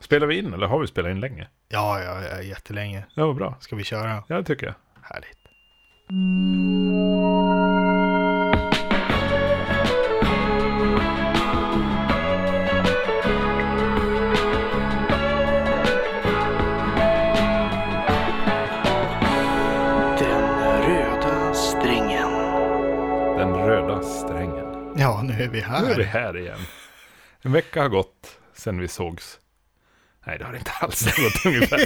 Spelar vi in eller har vi spelat in länge? Ja, ja, ja, jättelänge. Det var bra. Ska vi köra? Ja, det tycker jag. Härligt. Den röda strängen. Den röda strängen. Ja, nu är vi här. Nu är vi här igen. En vecka har gått sedan vi sågs. Nej, det har det inte alls Det har gått ungefär.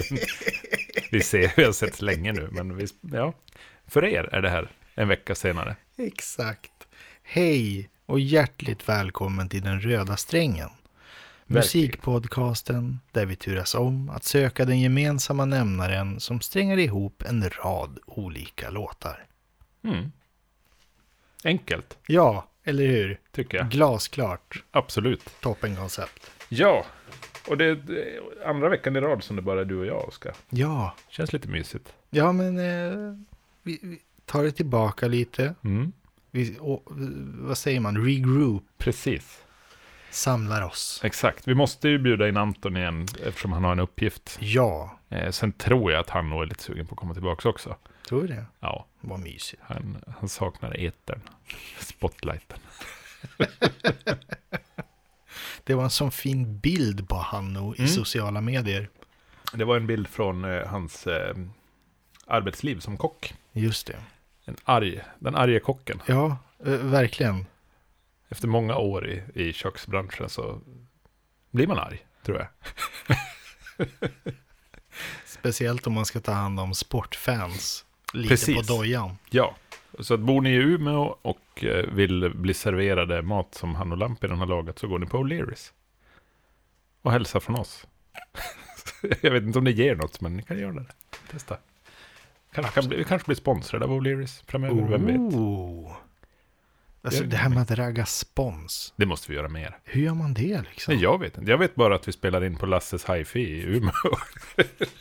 Vi ser, vi har sett länge nu, men vi, ja. För er är det här en vecka senare. Exakt. Hej och hjärtligt välkommen till Den röda strängen. Musikpodcasten där vi turas om att söka den gemensamma nämnaren som strängar ihop en rad olika låtar. Mm. Enkelt, Ja, eller hur? tycker jag. Glasklart. Absolut. Toppenkoncept. Ja, och det är det är andra veckan i rad som det bara är du och jag, Oskar. Ja, Känns lite mysigt. ja men eh, vi, vi tar det tillbaka lite. Mm. Vi, och, eh, vad säger man? Regroup. Precis. Samlar oss. Exakt. Vi måste ju bjuda in Anton igen, eftersom han har en uppgift. Ja, Eh, sen tror jag att han nog är lite sugen på att komma tillbaka också. tror det. Ja, Vad mysigt. han, han saknar etern. Spotlighten. Det var en sån fin bild på Hanno i Mm. sociala medier. Det var en bild från eh, hans eh, arbetsliv som kock. Just det. En arg, den arge kocken. Ja, eh, verkligen. Efter många år i, i köksbranschen så blir man arg, tror jag. Speciellt om man ska ta hand om sportfans. Lite Precis. på dojan. Ja. Så att bor ni i Umeå och eh, vill bli serverade mat som han och Lampinen har lagat så går ni på O'Learys. Och hälsa från oss. Jag vet inte om det ger något, men ni kan göra det. Testa. Kanske kan bli, vi kanske blir sponsrade av O'Learys framöver, vem vet? Oh. Alltså Det- det här med att ragga spons. Det måste vi göra mer. Hur gör man det liksom? Nej, jag vet inte. Jag vet bara att vi spelar in på Lasses Hi-Fi i Umeå.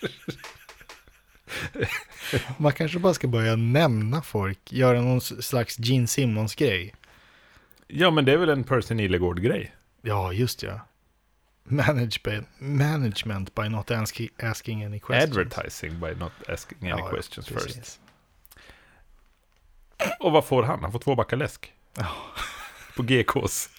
Man kanske bara ska börja nämna folk. Göra någon slags Gene Simmons-grej. ja, men det är väl en Percy Nilegård-grej. Ja, just ja. Management, management by not asking, asking any questions. Advertising by not asking any Ja, questions precis. first. Och vad får han? Han får två backar läsk. Ja. På GKs.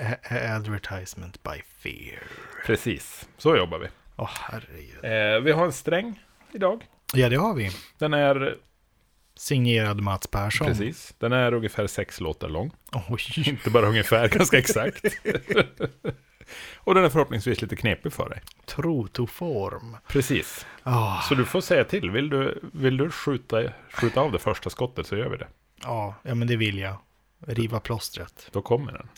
A- a- advertisement by fear. Precis, så jobbar vi. Åh, herregud. Eh, vi har en sträng idag. Ja, det har vi. Den är, Signerad Mats Persson. precis, den är ungefär sex låtar lång. Oj, Inte bara ungefär, ganska exakt. Och den är förhoppningsvis lite knepig för dig. trotoform. Precis. Ja, Så du får säga till. Vill du, vill du skjuta, skjuta av det första skottet så gör vi det. ja, ja, men det vill jag. Riva plåstret. Då kommer den.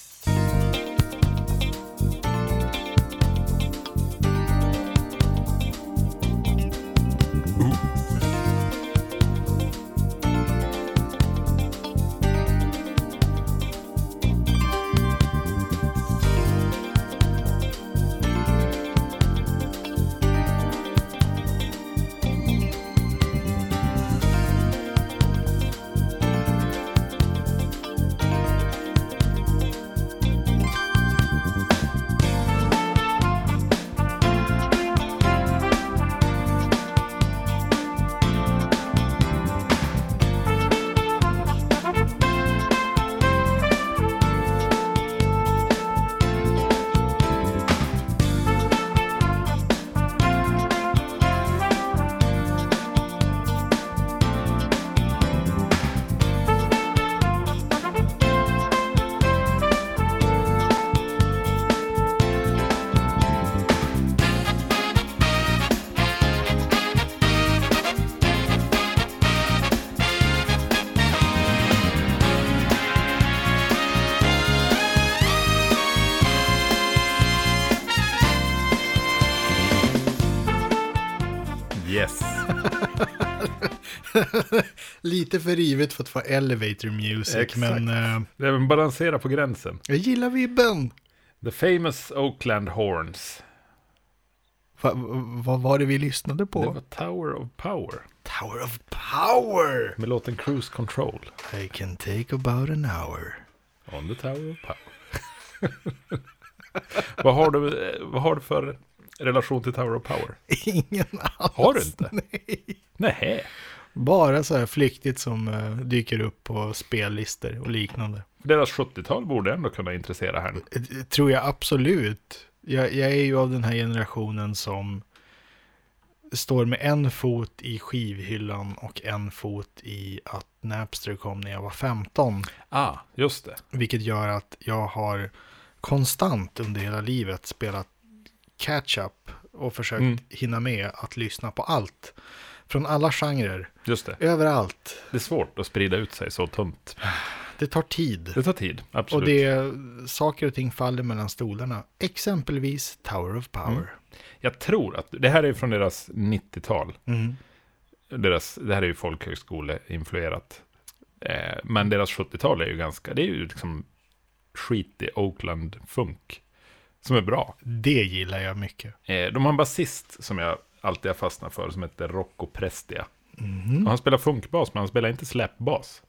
Yes. Lite för rivet för att vara elevator music, Exakt. men eh, Det är balansera på gränsen. jag gillar vibben. The famous Oakland Horns. Va- va- vad var det vi lyssnade på? Det var Tower of Power. Tower of Power! Med låten Cruise Control. I can take about an hour. On the Tower of Power. Vad har, du, eh, vad har du för relation till Tower of Power? Ingen alls. Har du inte? Nej. Nej. Bara så här flyktigt som eh, dyker upp på spellistor och liknande. Deras 70-tal borde ändå kunna intressera henne. Det tror jag absolut. Jag, jag är ju av den här generationen som står med en fot i skivhyllan och en fot i att Napster kom när jag var 15. Ah, just det. Vilket gör att jag har konstant under hela livet spelat catch-up och försökt Mm. hinna med att lyssna på allt. Från alla genrer, Just det. överallt. Det är svårt att sprida ut sig så tunt. Det tar tid. Det tar tid, absolut. Och det, saker och ting faller mellan stolarna. Exempelvis Tower of Power. Jag tror att, det här är från deras 90-tal. Mm. Deras, det här är ju folkhögskoleinfluerat. Eh, men deras 70-tal är ju ganska, det är ju liksom skitig Oakland-funk. Som är bra. Det gillar jag mycket. Eh, de har en basist som jag alltid har fastnat för, som heter Rocco Prestia. Mhm. Och han spelar funkbas, men han spelar inte släpbas.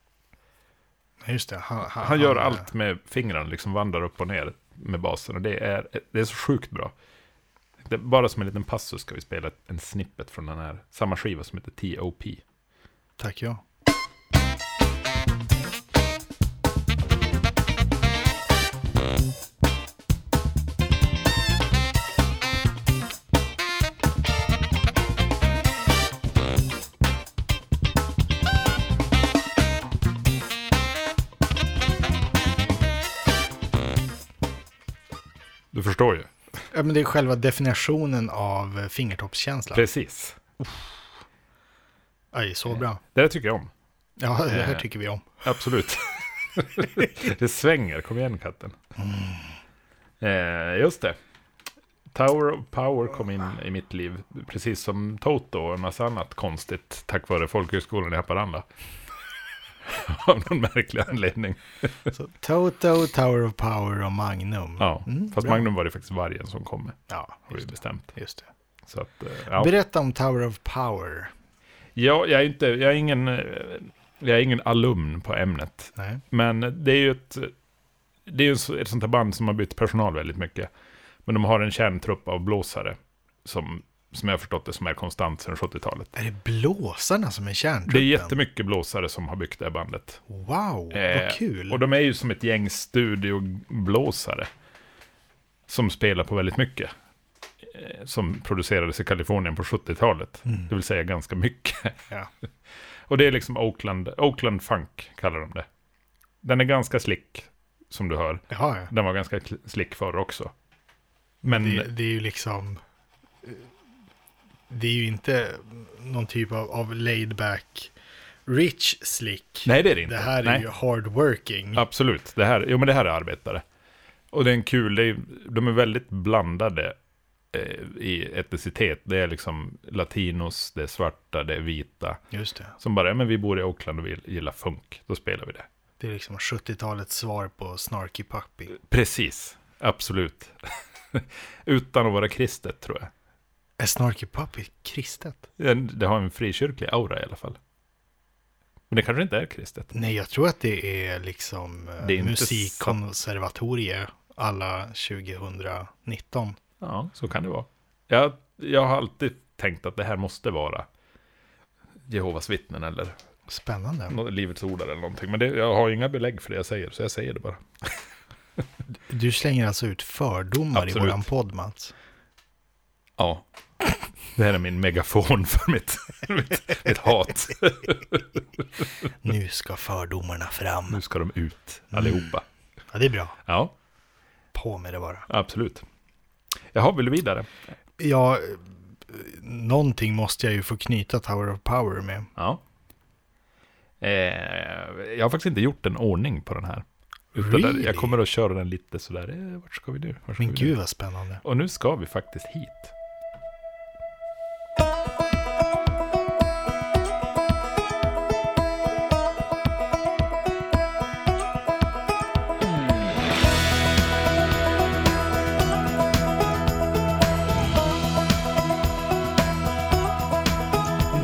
Ja, Just det. Han, han- eh, Han gör han- allt med fingrarna, liksom vandrar upp och ner med basen. Och det är, det är så sjukt bra. Det, bara som en liten passus ska vi spela ett- en snippet från den här, samma skiva som heter T.O.P. Tack ja. Du förstår ju. ja men det är själva definitionen av eh, fingertoppskänsla. Precis. Aj, så bra. Det där tycker jag om. Ja, det här Eh. tycker vi om. Absolut. det svänger, kom igen katten. Eh, just det. Tower of Power kom in i mitt liv, precis som Toto och en massa annat konstigt, tack vare folkhögskolan i Haparanda. Av någon märklig anledning. Så, Toto, Tower of Power och Magnum. Ja, Mm, fast bra. Magnum var det faktiskt vargen som kom med, Ja, har vi bestämt. just det. Så att, eh, ja. Berätta om Tower of Power. ja, jag är inte, jag är ingen, eh, jag är ingen alumn på ämnet. Nej. Men det är ju ett, det är ju så- ett sånt här band som har bytt personal väldigt mycket. Men de har en kärntrupp av blåsare som, som jag har förstått det som är konstant sedan 70-talet. Är det blåsarna som är kärntruppen? Det är jättemycket blåsare som har byggt det här bandet. Wow, Eh, vad kul. Och de är ju som ett gäng studioblåsare som spelar på väldigt mycket. Eh, Som producerades i Kalifornien på 70-talet, det vill säga ganska mycket. Ja. Och det är liksom Oakland, Oakland Funk kallar de det. Den är ganska slick, som du hör. Jaha, ja. Den var ganska kl- slick förr också. Men Det, det är ju liksom... Det är ju inte någon typ av, av laid back rich slick. nej, det är det inte. Det här är nej. ju hard working. Absolut, det här, jo, men det här är arbetare. Och det är en kul, det är, de är väldigt blandade eh, i etnicitet. Det är liksom latinos, det är svarta, det är vita. Just det. Som bara, ja, men vi bor i Oakland och vi gillar funk, då spelar vi det. Det är liksom 70-talets svar på Snarky Puppy. Precis, absolut. Utan att vara kristet tror jag. Är Snarky Puppy kristet? Ja, Det har en frikyrklig aura i alla fall. Men det kanske inte är kristet. Nej, jag tror att det är liksom Det är eh, inte musikkonservatorie alla 2019. Ja, så kan det vara. Jag, jag har alltid tänkt att det här måste vara Jehovas vittnen eller Spännande. nå- Livets ordare eller någonting. Men det, jag har inga belägg för det jag säger, så jag säger det bara. Du slänger alltså ut fördomar Absolut. i våran podd, Mats. Ja. Det här är min megafon för mitt, mitt, mitt hat. Nu ska fördomarna fram. Nu ska de ut, allihopa. Ja, det är bra. Ja, På med det bara. absolut. Jaha, vill du vidare? Ja, eh, någonting måste jag ju få knyta Tower of Power med. Ja. Eh, jag har faktiskt inte gjort en ordning på den här. Utan Really? jag kommer att köra den lite sådär, eh, vart ska vi nu? Vart ska Men vi nu? gud vad spännande. Och nu ska vi faktiskt hit.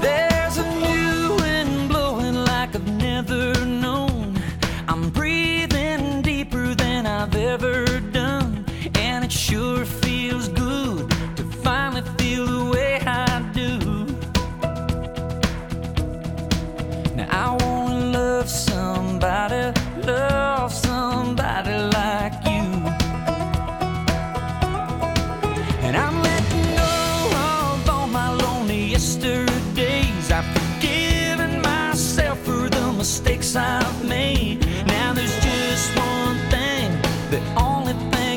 There's a new wind blowing like I've never known. I'm breathing deeper than I've ever done. Mm-hmm.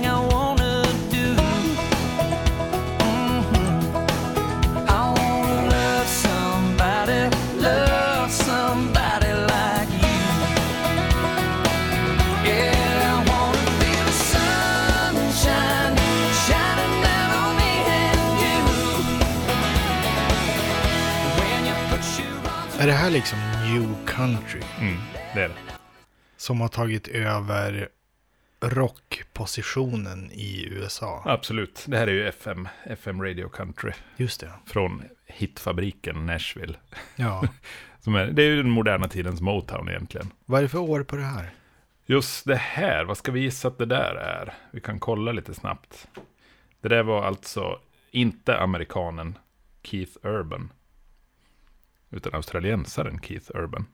Är det här liksom new country? Mm, det är det. Som har tagit över rockpositionen i USA? Absolut. Det här är ju FM, FM Radio Country Just det. från hitfabriken Nashville. Ja. Som är, det är ju den moderna tidens Motown egentligen. Vad är det för år på det här? Just det här, vad ska vi gissa att det där är? Vi kan kolla lite snabbt. Det där var alltså inte amerikanen Keith Urban. Utan australiensaren Keith Urban.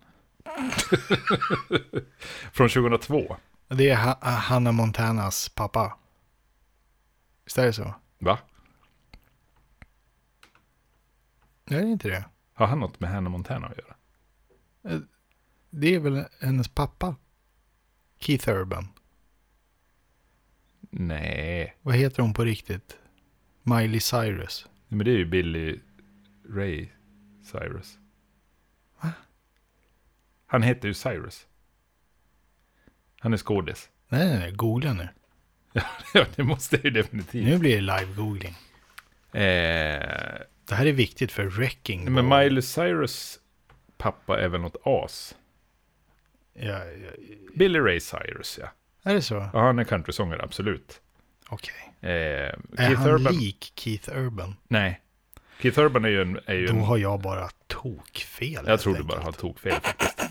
Från 2002. Det är ha- Hannah Montanas pappa. Visst är det så? Va? Nej, det är inte det. Har han något med Hannah Montana att göra? Det är väl hennes pappa? Keith Urban. Nej. Vad heter hon på riktigt? Miley Cyrus. Men det är ju Billy Ray Cyrus. Han heter ju Cyrus. Han är skådis. Nej, nej, nej. Googla nu. Ja, det måste jag ju definitivt. Nu blir det live-googling. Eh, Det här är viktigt för wrecking. nej, men Miley Cyrus pappa är väl något as? Ja, ja, Billy Ray Cyrus, ja. är det så? Ja, han är countrysångare, absolut. Okej. Eh, Är Keith han Urban? lik Keith Urban? Nej. Keith Urban är ju en... Är ju Då en har jag bara tokfel. jag helt tror du enkelt. bara har tokfel faktiskt.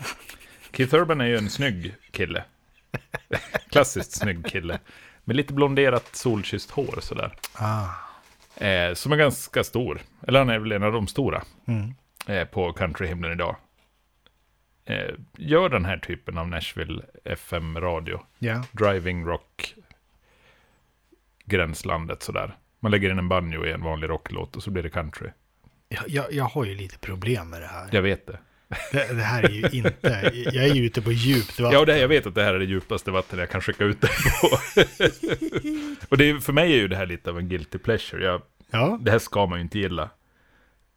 Keith Urban är ju en snygg kille. Klassiskt snygg kille. Med lite blonderat solkysst hår sådär. Ah, Eh, som är ganska stor. Eller han är väl en av de stora. Mm. Eh, på countryhimlen idag. Eh, gör den här typen av Nashville FM-radio. ja. Driving rock. Gränslandet sådär. Man lägger in en banjo i en vanlig rocklåt och så blir det country. Jag, jag, jag har ju lite problem med det här. Jag vet det. Det, det här är ju inte... Jag är ju ute på djupt vatten. Ja, och det, jag vet att det här är det djupaste vatten jag kan skicka ut dig på. och det, är- för mig är ju det här lite av en guilty pleasure. Jag, Ja, det här ska man ju inte gilla.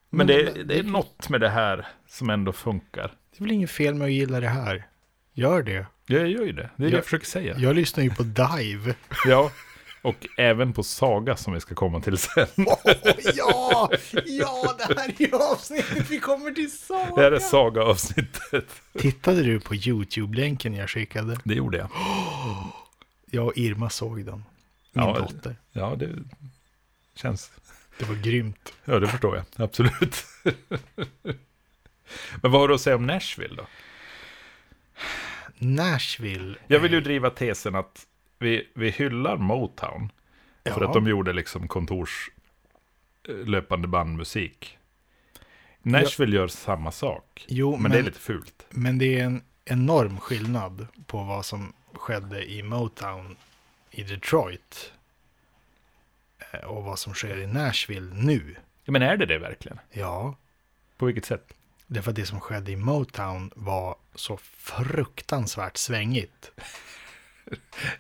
Men det, det är något med det här som ändå funkar. det är väl inget fel med att gilla det här. Gör det. Jag gör ju det. Det är det Ja. jag försöker säga. Jag lyssnar ju på Dive. Ja. Och även på Saga som vi ska komma till sen. ja, ja, det här är ju avsnittet vi kommer till Det här är Saga. Saga-avsnittet. Tittade du på YouTube-länken jag skickade? Det gjorde jag. Jag och Irma såg den. Min Ja. dotter. Ja, det känns Det var grymt. Ja, det förstår jag. Absolut. Men vad har du att säga om Nashville då? Nashville. Jag vill ju driva tesen att vi, vi hyllar Motown för Ja. att de gjorde liksom kontors eh, löpande bandmusik. Nashville gör samma sak, Jo, men, det är lite fult. Men det är en enorm skillnad på vad som skedde i Motown i Detroit eh, och vad som sker i Nashville nu. Ja, Men är det det verkligen? Ja, På vilket sätt? därför att det som skedde i Motown var så fruktansvärt svängigt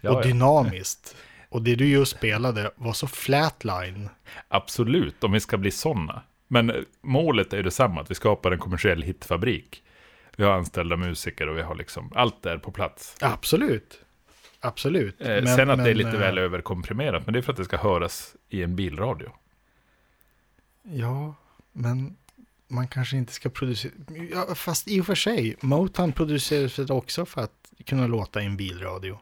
Ja, och ja. dynamiskt. Och det du just spelade var så flatline. Absolut, om vi ska bli sådana. Men eh, målet är ju detsamma, att vi skapar en kommersiell hitfabrik. Vi har anställda musiker och vi har liksom, allt är på plats. Absolut. Absolut. Eh, sen att det är lite eh, väl överkomprimerat, men det är för att det ska höras i en bilradio. Ja, men man kanske inte ska producera... Ja, fast i och för sig, Motown producerades väl också för att kunna låta i en bilradio.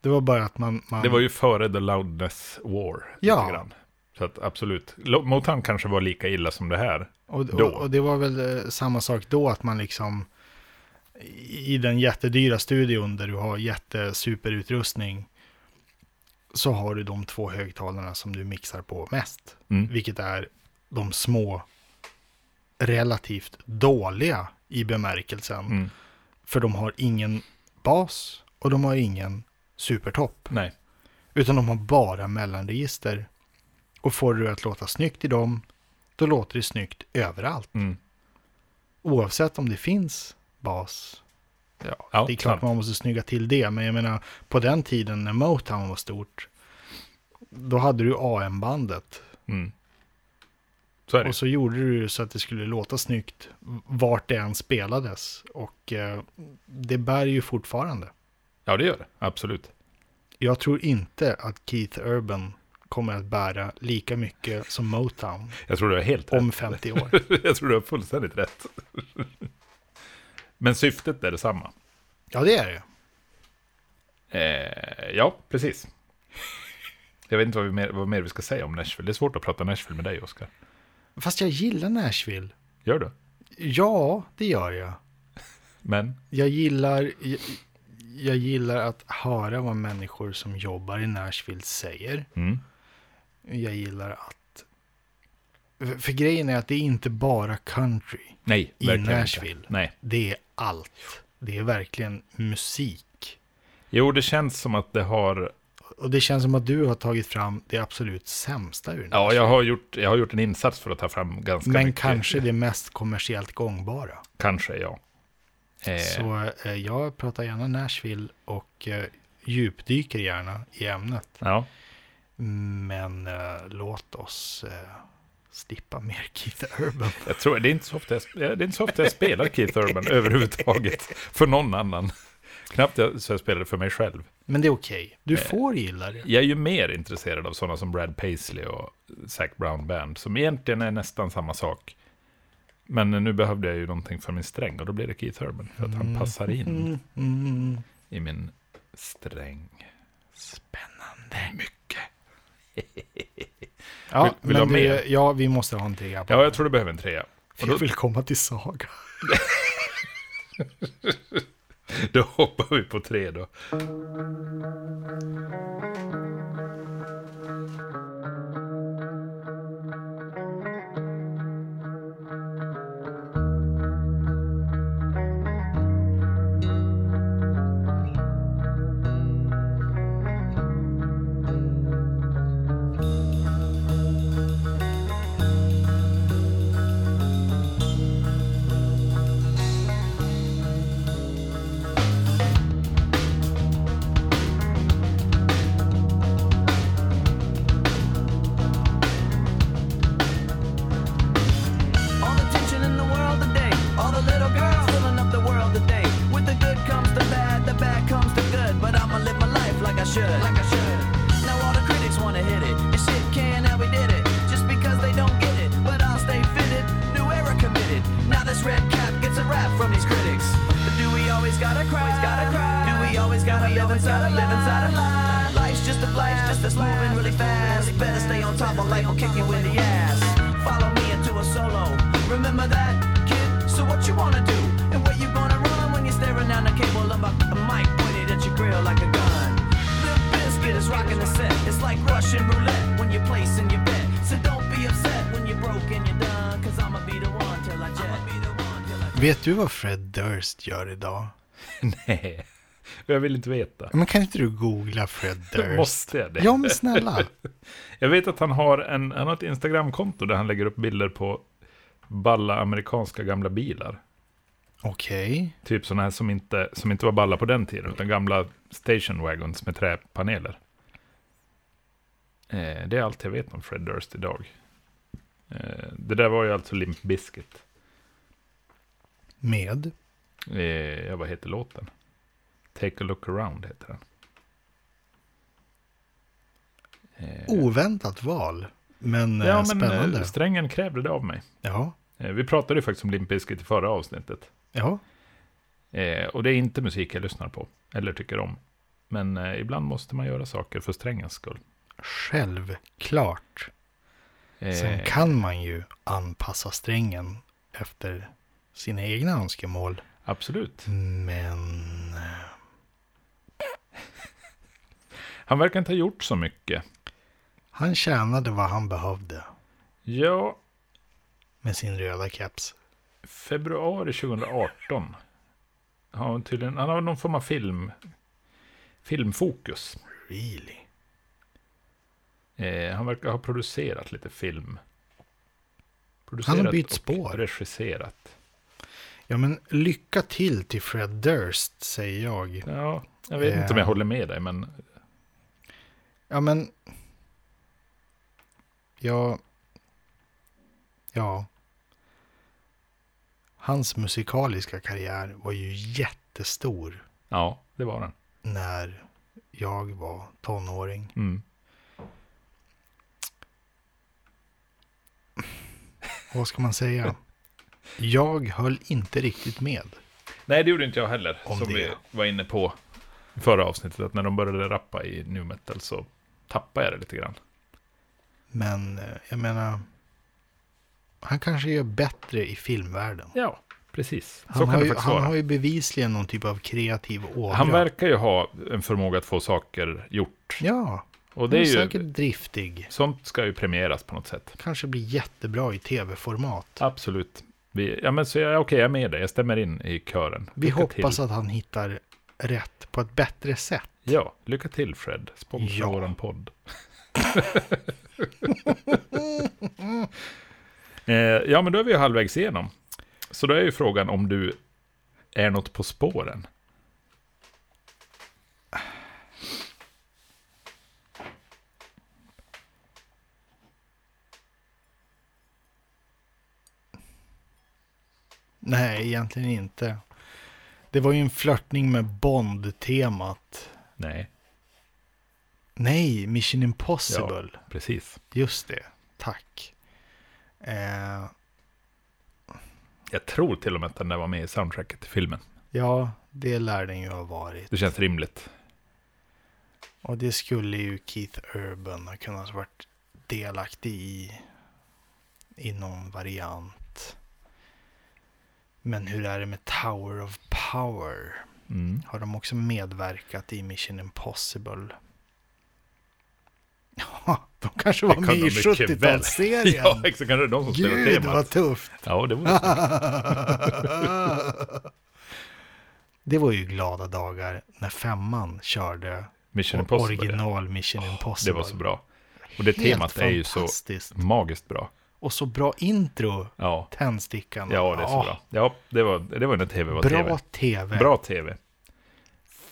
Det var bara att man... man Det var ju före The Loudness War. Ja. Lite grann. Så att absolut, Lo- Motown kanske var lika illa som det här. och, då. och, och det var väl eh, samma sak då, att man liksom... I i den jättedyra studion där du har jättesuperutrustning så har du de två högtalarna som du mixar på mest. Mm. vilket är de små relativt dåliga i bemärkelsen. Mm. För de har ingen bas och de har ingen supertopp, Nej, utan de har bara mellanregister. Och får du att låta snyggt i dem, då låter det snyggt överallt. Mm. Oavsett om det finns bas. Ja, Ja, det är klart sant. man måste snygga till det, men jag menar på den tiden när Motown var stort, då hade du AM-bandet. mm. så är det. Och så gjorde du så att det skulle låta snyggt vart det än spelades. Och eh, det bär ju fortfarande. Ja, det gör det. Absolut. Jag tror inte att Keith Urban kommer att bära lika mycket som Motown Jag tror du har helt rätt. om 50 år. Jag tror du har fullständigt rätt. Men syftet är detsamma. Ja, det är det. Eh, ja, precis. Jag vet inte vad, vi mer, vad mer vi ska säga om Nashville. Det är svårt att prata Nashville med dig, Oskar. Fast jag gillar Nashville. Gör du? Ja, det gör jag. Men? Jag gillar, jag, jag gillar att höra vad människor som jobbar i Nashville säger. Mm. Jag gillar att... för- För grejen är att det är inte bara country. Nej, I verkligen Nashville. Inte. Nej. Det är allt. Det är verkligen musik. Jo, det känns som att det har... Och det känns som att du har tagit fram det absolut sämsta ur Ja, jag har gjort, jag har gjort en insats för att ta fram ganska Men mycket. kanske det mest kommersiellt gångbara. Kanske, ja. Eh, Så eh, jag pratar gärna Nashville och eh, djupdyker gärna i ämnet. Ja. Men eh, låt oss eh, slippa mer Keith Urban. Jag tror, det, är inte så ofta jag, det är inte så ofta jag spelar Keith Urban överhuvudtaget. För någon annan. Knappt jag, så jag spelar det för mig själv. Men det är okej. Du Eh. får gilla det. Jag är ju mer intresserad av sådana som Brad Paisley och Zac Brown Band, som egentligen är nästan samma sak. Men nu behövde jag ju någonting för min sträng och då blev det Keith Urban, för att han passar in Mm. i min sträng. Spännande. Mycket. Ja, Vill- vill men du ha det- mer? ja, vi måste ha en trea. på Ja, det. jag tror du behöver en trea. Och Jag då, vill komma till Saga. då hoppar vi på tre då. All the tension in the world today. All the little girls filling up the world today. With the good comes the bad, the bad comes the good. But I'ma live my life like I should, like I should. Now all the critics wanna hit it. This shit can how we did it. Just because they don't get it, but I'll stay fitted. New era committed. Now this red cap gets a rap from these critics. But do we always gotta cry? Gotta cry. Do we always gotta live inside a live inside a lie? Life's just a life, just that's moving really fast. Better stay on top of life, will kick you in the ass. Follow me into a solo. Remember that, kid? So what you wanna do? And where you gonna run when you're staring down the cable of a, a mic pointed at your grill like a gun? Limp Bizkit is rocking the set. It's like Russian roulette when you're placing your bet. So don't be upset when you're broke and you're done. Cause I'ma be the one till I jet. I'ma be the one till I jet. Vet du vad Fred Durst gör idag? Nej, jag vill inte veta. Men kan inte du googla Fred Durst? Måste jag det? Ja, men snälla. Jag vet att han har, en, han har ett Instagramkonto där han lägger upp bilder på balla amerikanska gamla bilar. Okej. Typ sådana här som inte, som inte var balla på den tiden, utan gamla station wagons med träpaneler. Eh, det är allt jag vet om Fred Durst idag. Eh, det där var ju alltså Limp Bizkit. Med? Eh, ja, vad heter låten? Take a look around heter den. Oväntat val. Men, eh, ja, men spännande. eh, strängen krävde det av mig. ja. Eh, vi pratade ju faktiskt om Limp Bizkit i förra avsnittet. Ja. Eh, och det är inte musik jag lyssnar på, eller tycker om. Men eh, ibland måste man göra saker för strängens skull. Självklart. Eh, Sen kan man ju anpassa strängen efter sina egna önskemål. Absolut. Men eh, Han verkar inte ha gjort så mycket. han tjänade vad han behövde Ja, med sin röda keps. februari 2018. Har han, tydligen, han har någon form av film, filmfokus. Really? Eh, han verkar ha producerat lite film. bytt och spår. regisserat. Ja, men lycka till till Fred Durst, säger jag. Ja, jag vet Eh. inte om jag håller med dig, men Ja, men... Ja... Ja. Hans musikaliska karriär var ju jättestor ja, det var den. när jag var tonåring. Mm. vad ska man säga? Jag höll inte riktigt med. Nej, det gjorde inte jag heller. Om som det. vi var inne på i förra avsnittet. Att när de började rappa i nu metal så tappade jag det lite grann. Men eh, jag menar, han kanske gör bättre i filmvärlden. Ja, precis. Så Han, kan har det ju, faktiskt han vara. har ju bevisligen någon typ av kreativ ådra. Han verkar ju ha en förmåga att få saker gjort. Ja, Och han det är är ju... säkert driftig. Sånt ska ju premieras på något sätt. Kanske blir jättebra i tv-format. Absolut. Vi, ja, men så jag, okej, jag är med dig. Jag stämmer in i kören. Vi Lycka hoppas till. att han hittar rätt på ett bättre sätt. Ja, lycka till Fred. Sponsra Ja. våran podd. eh, ja, men då är vi ju halvvägs igenom. Så då är ju frågan om du är något på spåren. Nej, egentligen inte. Det var ju en flörtning med Bond-temat. Nej, Nej, Mission Impossible. precis. Just det, tack. Eh, Jag tror till och med att den där var med i soundtracket till filmen. ja, det lär den ju ha varit. Det känns rimligt. Och det skulle ju Keith Urban ha kunnat varit delaktig i. I någon variant. Men hur är det med Tower of Power? Mm. Har de också medverkat i Mission Impossible? Ja, de kanske var Det kan de med i mycket väl. 70-talsserien. Ja, exakt. Kanske det är de som spelar Gud, temat. vad tufft. Ja, det vore så. det var ju glada dagar när femman körde Mission or- Impossible. ja. original Mission Impossible. Det var så bra. Och det Helt temat är ju så fantastiskt. magiskt bra. Och så bra intro, Ja, tändstickan. ja det är så Ah, bra. Ja, det var, det var när tv var Bra tv. TV. Bra tv.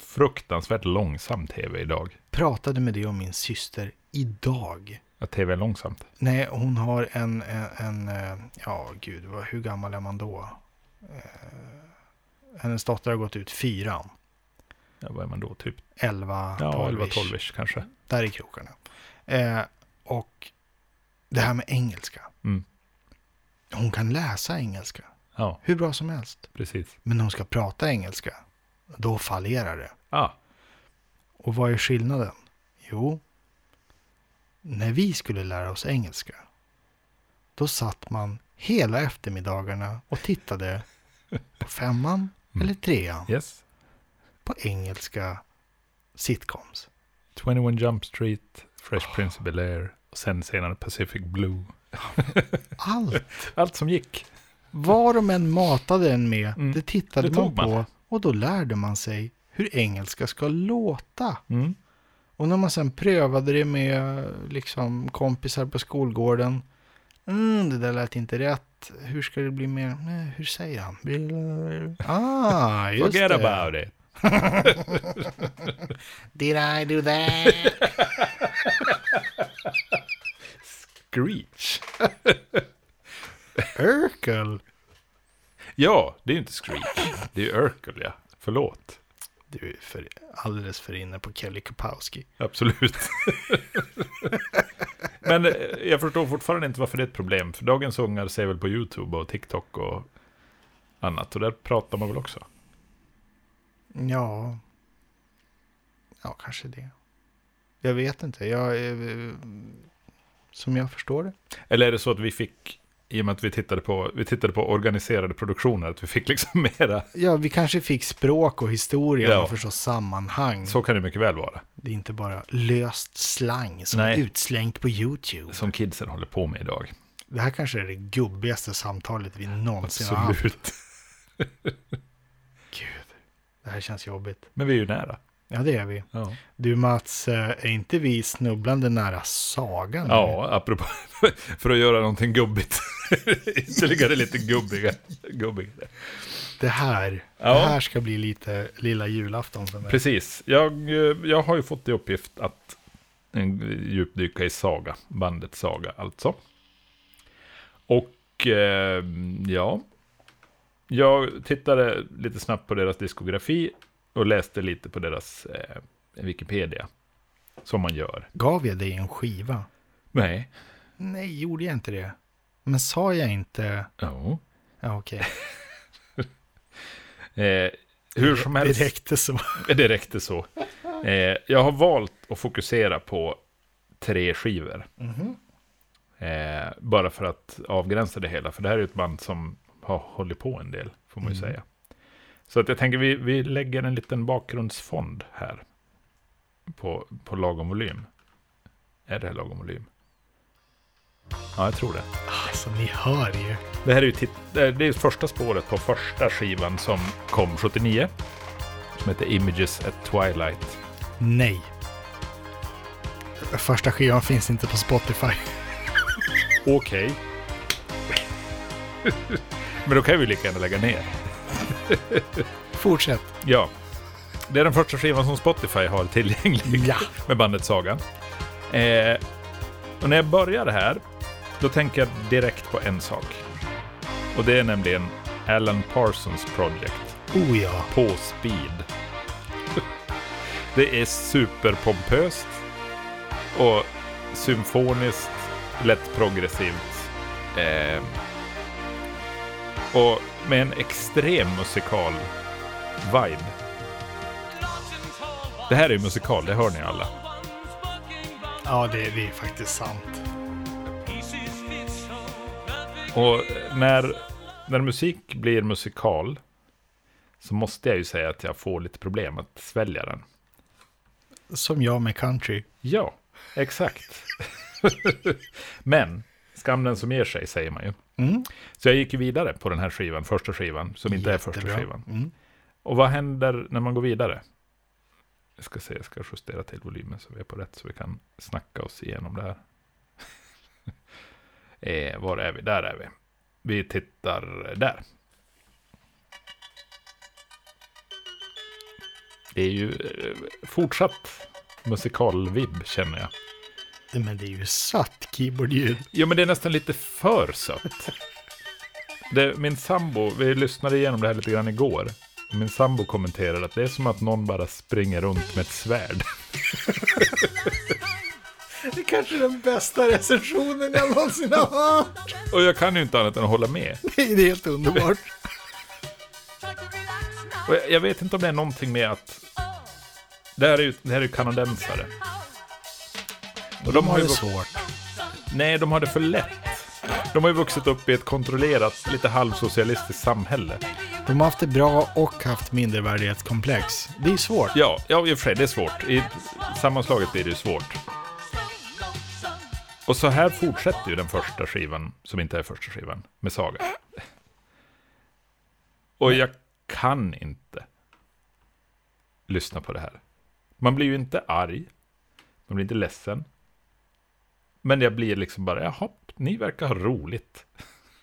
Fruktansvärt långsam tv idag. Pratade med det om min syster idag. Att tv är långsamt. Nej, hon har en, en, en eh, ja gud, vad, hur gammal är man då? Eh, hennes dotter har gått ut fyran, Ja, vad är man då? Typ elva, ja, 11 tolv 12 ish kanske. där i krokarna. Eh, och det här med engelska. Mm. Hon kan läsa engelska, Ja, hur bra som helst. precis. Men när hon ska prata engelska, då fallerar det. Ah, Och vad är skillnaden? Jo, när vi skulle lära oss engelska, då satt man hela eftermiddagarna och tittade på femman Mm. eller trean yes. på engelska sitcoms. 21 Jump Street, Fresh Prince of Bel-Air och sen senare Pacific Blue. Allt, Allt som gick. vad de än matade en med, Mm, det tittade det man tog på man. och då lärde man sig hur engelska ska låta. Mm. Och när man sen prövade det med liksom, kompisar på skolgården. Mm, det där lät inte rätt. Hur ska det bli mer? Nej, hur säger han? Ah, just Forget det. about it. Did I do that? Screech. Urkel. Ja, det är ju inte Screech. Det är ju Urkel, ja. Förlåt. Du är för, alldeles för inne på Kelly Kapowski. Absolut. Men eh, jag förstår fortfarande inte varför det är ett problem. För dagens ungar ser väl på YouTube och TikTok och annat. Och där pratar man väl också. Ja. Ja, kanske det. Jag vet inte. Jag, eh, som jag förstår det. Eller är det så att vi fick, i och med att vi tittade på, vi tittade på organiserade produktioner, att vi fick liksom mera. Ja, vi kanske fick språk och historia Ja. och förstå sammanhang. Så kan det mycket väl vara. Det är inte bara löst slang som Nej. är utslängt på YouTube. Som kidsen håller på med idag. Det här kanske är det gubbigaste samtalet vi någonsin har haft. Absolut. Gud, det här känns jobbigt. Men vi är ju nära. Ja, det är vi. Ja, Du Mats, eh, är inte vi snubblande nära sagan? nu? ja apropå, för att göra någonting gubbigt. Ytterligare lite gubbiga, gubbigare. Det här, det Ja. här ska bli lite lilla julafton för mig. Precis. Jag, eh, jag har ju fått i uppgift att eh, djupdyka i Saga, bandet Saga alltså. Och eh, ja, jag tittade lite snabbt på deras diskografi och läste lite på deras eh, Wikipedia. Som man gör. Gav jag dig en skiva? Nej, Nej, gjorde jag inte det? Men sa jag inte... Ja. Ja, okej. Eh, hur som Det helst. räckte så. Det räckte så. Eh, jag har valt att fokusera på tre skivor. Eh, bara för att avgränsa det hela. För det här är ett band som har hållit på en del, får man ju säga. Så att jag tänker vi, vi lägger en liten bakgrundsfond här. På, på lagom volym. Är det här lagom volym? Ja, jag tror det. Alltså, ni hör ju. Det här är ju tit- eh, det är första spåret på första skivan som kom 79. Som heter Images at Twilight. Nej. Första skivan finns inte på Spotify. Okej. Men då kan vi lika gärna lägga ner. Fortsätt. Ja. Det är den första skivan som Spotify har tillgänglig Ja. med bandet Saga. Eh, och när jag börjar här, då tänker jag direkt på en sak. Och det är nämligen Alan Parsons Project Oh ja. på speed. Det är superpompöst och symfoniskt, lätt progressivt. Eh, och med en extrem musikal vibe. Det här är ju musikal, det hör ni alla. Ja, det, det är faktiskt sant. Och när, när musik blir musikal så måste jag ju säga att jag får lite problem att svälja den. Som jag med country. Ja, exakt. Men skam den som ger sig, säger man ju. Mm. Så jag gick ju vidare på den här skivan, första skivan, som inte är första Jättebra. skivan. Mm. Och vad händer när man går vidare? Jag ska se, jag ska justera till volymen så vi är på rätt, så vi kan snacka oss igenom det här. eh, var är vi? Där är vi. Vi tittar där. Det är ju eh, fortsatt musikalvibb, känner jag. Men det är ju satt keyboardljud. Ja, men det är nästan lite för sött. Det, min sambo, vi lyssnade igenom det här lite grann igår. Min sambo kommenterade att det är som att någon bara springer runt med ett svärd. Det är kanske den bästa recensionen jag någonsin har hört. Och jag kan ju inte annat än att hålla med. Det är helt underbart. Och jag, jag vet inte om det är någonting med att... Det här är ju, det här är ju kanadensare. Och de har ju... det vux- svårt. Nej, de har det för lätt. De har ju vuxit upp i ett kontrollerat, lite halvsocialistiskt samhälle. De har haft det bra och haft mindervärdighetskomplex. Det är svårt. Ja, ja i och för sig, det är svårt. I sammanslaget blir det ju svårt. Och så här fortsätter ju den första skivan, som inte är första skivan, med Saga. Och jag kan inte lyssna på det här. Man blir ju inte arg, man blir inte ledsen. Men jag blir liksom bara, jaha, ni verkar ha roligt.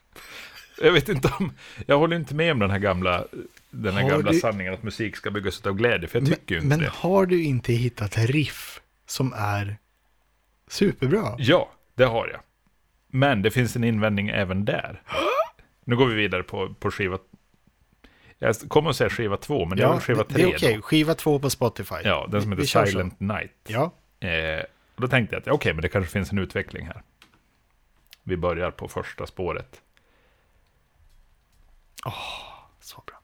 Jag vet inte om, jag håller inte med om den här gamla, den här Har gamla du- sanningen att musik ska byggas av glädje, för jag tycker ju inte Men det. har du inte hittat riff som är superbra? Ja, det har jag. Men det finns en invändning även där. Nu går vi vidare på, på skiva... Jag kommer att säga skiva två, men det är väl skiva det- tre det är okej. då. Skiva två på Spotify. Ja, den som Vi- heter vi kör så. Silent Night. Ja, Eh, och då tänkte jag att ja, okej, men det kanske finns en utveckling här. Vi börjar på första spåret. så bra.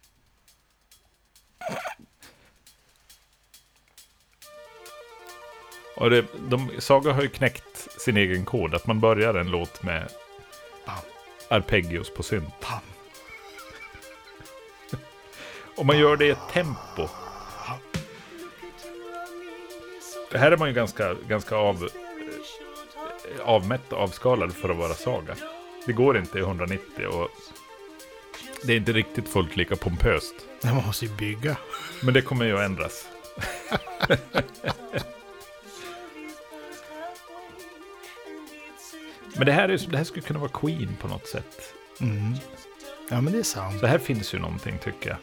Och det, de, Saga har ju knäckt sin egen kod, att man börjar en låt med Bam, arpeggios på synt. bam. Och man gör det i ett tempo. Det här är man ju ganska, ganska av, eh, avmätt och avskalad för att vara Saga. Det går inte i 190 och det är inte riktigt fullt lika pompöst. Nej, Man måste ju bygga. Men det kommer ju att ändras. Men det här, är, ju- det här skulle kunna vara Queen på något sätt. Ja, men det är sant. Det här finns ju någonting tycker jag.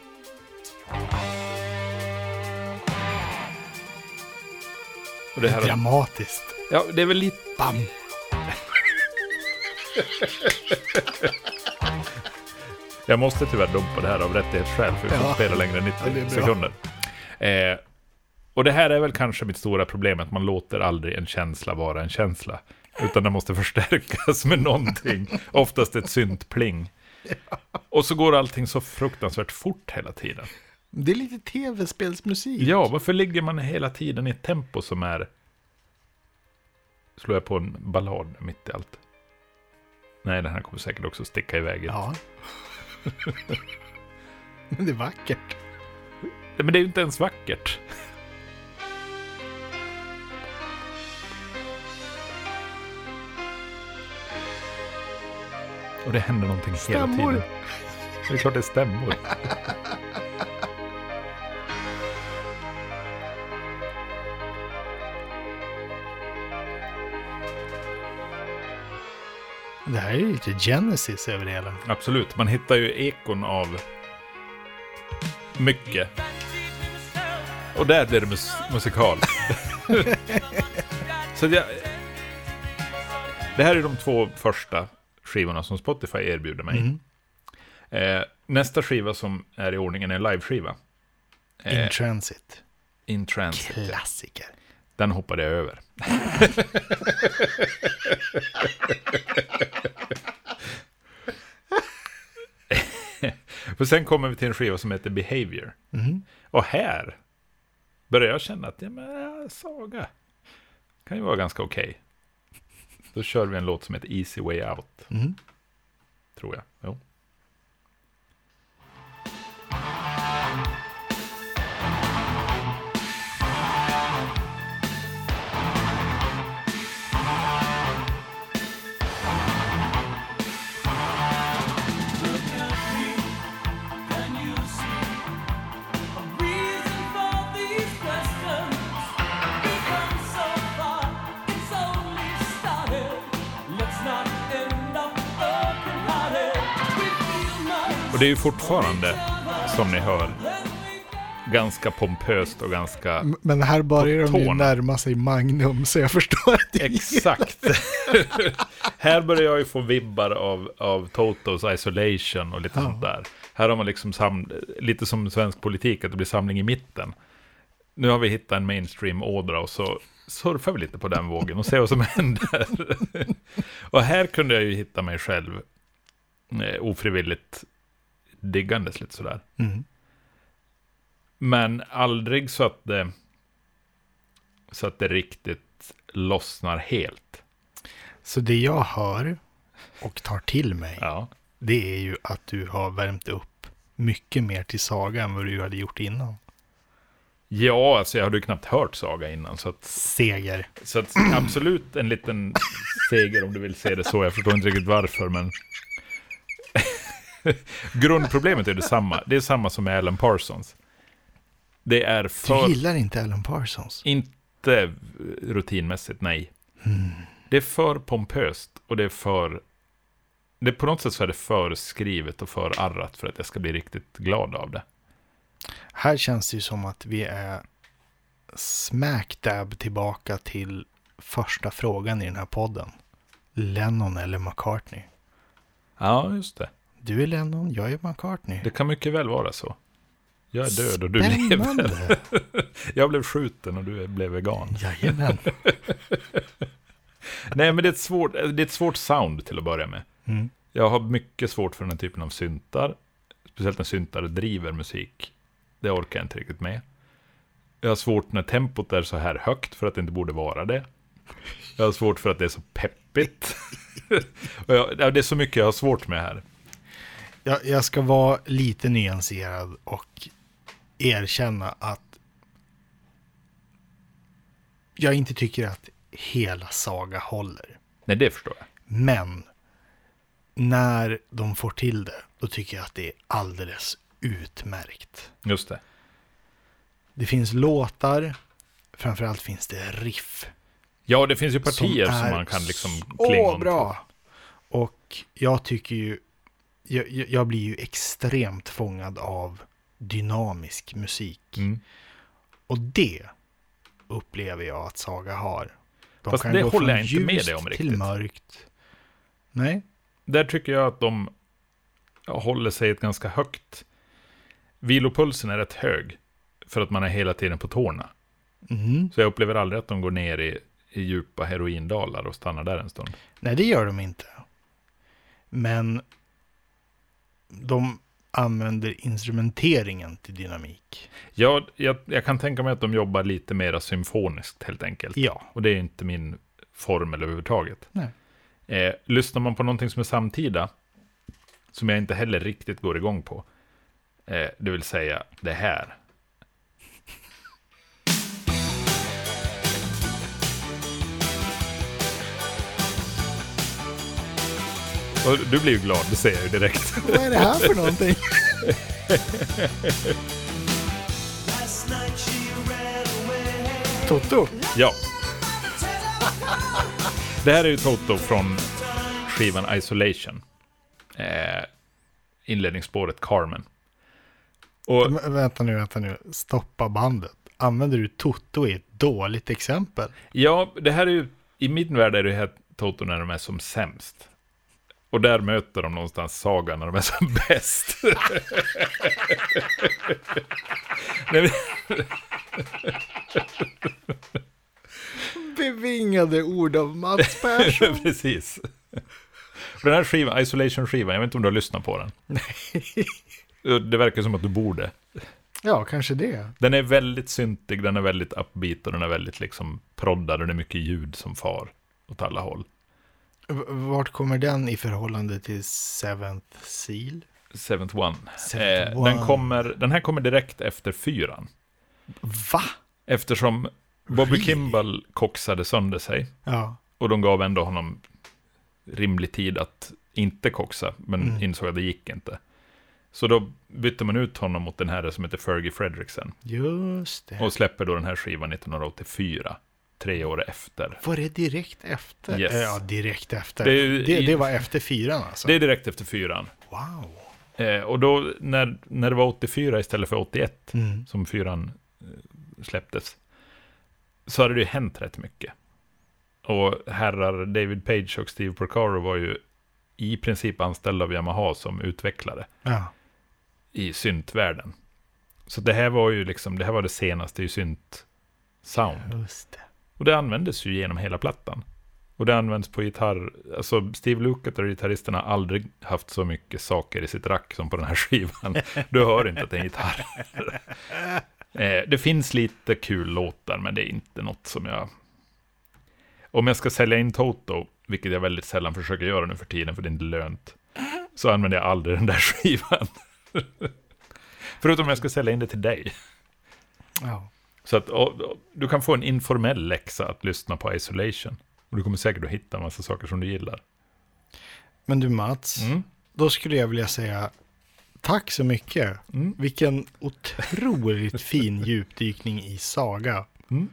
Och det här... Dramatiskt. Ja, det är väl lite... Bam. Jag måste tyvärr dumpa det här av rättighetsskäl för vi får Ja. spela längre än 90 Ja, det är bra. sekunder. Eh, och det här är väl kanske mitt stora problem, att man låter aldrig en känsla vara en känsla. Utan den måste förstärkas med någonting. Oftast ett syntpling. Och så går allting så fruktansvärt fort hela tiden. Det är lite tv-spelsmusik. Ja, varför ligger man hela tiden i ett tempo som är... Slår jag på en ballad mitt i allt? Nej, den här kommer säkert också sticka iväg. Ja. Ja. Men det är vackert. Men det är ju inte ens vackert. Och det händer någonting hela Stämmor. tiden. Det är klart det är stämmor. Det här är ju lite Genesis över det hela. Absolut, man hittar ju ekon av mycket. Och där blir det mus musikal. Så jag... Det här är de två första skivorna som Spotify erbjuder mig. Eh, nästa skiva som är i ordningen är en live-skiva. Eh. In Transit. In Transit. Klassiker. Den hoppade jag över. För sen kommer vi till en skiva som heter Behavior. Och här börjar jag känna att ja, men, äh, Saga kan ju vara ganska okej. Då kör vi en låt som heter Easy Way Out. Tror jag. Jo. Och det är ju fortfarande, som ni hör, ganska pompöst och ganska... Men här börjar På de ju tårna. närma sig Magnum, så jag förstår att det Exakt. här börjar jag ju få vibbar av, av Totos Isolation och lite sånt där. Här har man liksom sam, lite som svensk politik, att det blir samling i mitten. Nu har vi hittat en mainstream-ådra och så surfar vi lite på den vågen och ser vad som händer. och här kunde jag ju hitta mig själv eh, ofrivilligt diggandes lite sådär. Men aldrig så att det, så att det riktigt lossnar helt. Så det jag hör och tar till mig, Ja. det är ju att du har värmt upp mycket mer till Saga än vad du hade gjort innan. Ja, alltså jag hade ju knappt hört Saga innan, så, att, Seger. så att absolut en liten seger om du vill se det så. Jag förstår inte riktigt varför, men... Grundproblemet är detsamma. Det är samma som med Alan Parsons. Det är Du för... gillar inte Alan Parsons. Inte rutinmässigt, nej. Det är för pompöst och det är för... Det, på något sätt så är det för skrivet och för arrat för att jag ska bli riktigt glad av det. Här känns det ju som att vi är smack dab tillbaka till första frågan i den här podden. Lennon eller McCartney? Ja, just det. Du är Lennon, jag är McCartney. Det kan mycket väl vara så. Jag är död och du lever. Spännande! Jag blev skjuten och du blev vegan. Jajamän. Nej, men det är, ett svårt, det är ett svårt sound till att börja med. Mm. Jag har mycket svårt för den här typen av syntar. Speciellt när syntar driver musik. Det orkar jag inte riktigt med. Jag har svårt när tempot är så här högt för att det inte borde vara det. Jag har svårt för att det är så peppigt. och jag, ja, det är så mycket jag har svårt med här. Jag, jag ska vara lite nyanserad och erkänna att jag inte tycker att hela Saga håller. Nej, det förstår jag. Men när de får till det, då tycker jag att det är alldeles utmärkt. Just det. Det finns låtar, framförallt finns det riff. Ja, det finns ju partier som, är man kan liksom så klinga om. bra! Och jag tycker ju, jag, jag jag blir ju extremt fångad av dynamisk musik. Mm. Och det upplever jag att Saga har. De Fast det gå håller från jag inte med ljust dig om till riktigt. mörkt. Nej, Där tycker jag att de håller sig ett ganska högt... Vilopulsen är rätt hög, för att man är hela tiden på tårna. Så jag upplever aldrig att de går ner i, i djupa heroindalar och stannar där en stund. Nej, det gör de inte. Men de använder instrumenteringen till dynamik. Jag, jag, jag kan tänka mig att de jobbar lite mer symfoniskt helt enkelt. Ja, Och det är inte min formel överhuvudtaget. Nej. Eh, lyssnar man på någonting som är samtida, som jag inte heller riktigt går igång på, eh, det vill säga det här. Och du blir ju glad, det ser jag ju direkt. vad är det här för någonting? Last night she ran away. Toto? Ja. Det här är ju Toto från skivan Isolation. Eh, inledningsspåret Carmen. Och Men, vänta nu, vänta nu. Stoppa bandet. Använder du Toto i ett dåligt exempel? ja, det här är ju, i min värld är det här Toto när de är som sämst. Och där möter de någonstans Saga när de är som bäst. Nej, men- Bevingade ord av Mats Persson. Precis. Och Den här skivan, Isolation-skivan, jag vet inte om du har lyssnat på den. Nej. Det verkar som att du borde. ja, kanske det. Den är väldigt syntig, den är väldigt upbeat och den är väldigt liksom proddad och det är mycket ljud som far åt alla håll. V- Vart kommer den i förhållande till Seventh Seal? Seventh One. Seventh eh, One. Den, kommer, den här kommer direkt efter fyran. Va? Eftersom Bobby Really? Kimball koxade sönder sig Ja. och de gav ändå honom rimlig tid att inte koxa, men Mm. insåg att det gick inte. Så då bytte man ut honom mot den här som heter Fergie Fredricksen Just det. och släpper då den här skivan 1984, tre år efter Var det direkt efter? Yes. Eh, Ja, direkt efter. Det är Det, ju det, i- var efter fyran alltså? Det är direkt efter fyran. Wow. Eh, och då när, när det var 84 istället för 81 Mm. som fyran eh, släpptes så hade det ju hänt rätt mycket. Och herrar David Page och Steve Porcaro var ju i princip anställda av Yamaha som utvecklare Ja. i syntvärlden. Så det här var ju liksom, det här var det senaste i synt sound. Just det. Och det användes ju genom hela plattan. Och det används på gitarr, alltså Steve Lukather och gitarristen har aldrig haft så mycket saker i sitt rack som på den här skivan. Du hör inte att det är en gitarr. Eh, det finns lite kul låtar, men det är inte något som jag... Om jag ska sälja in Toto, vilket jag väldigt sällan försöker göra nu för tiden, för det är inte lönt, så använder jag aldrig den där skivan. Förutom om jag ska sälja in det till dig. Ja. Så att ja, du kan få en informell läxa att lyssna på Isolation. Och du kommer säkert att hitta en massa saker som du gillar. Men du Mats, Mm. då skulle jag vilja säga tack så mycket. Mm. Vilken otroligt fin djupdykning i Saga. Mm.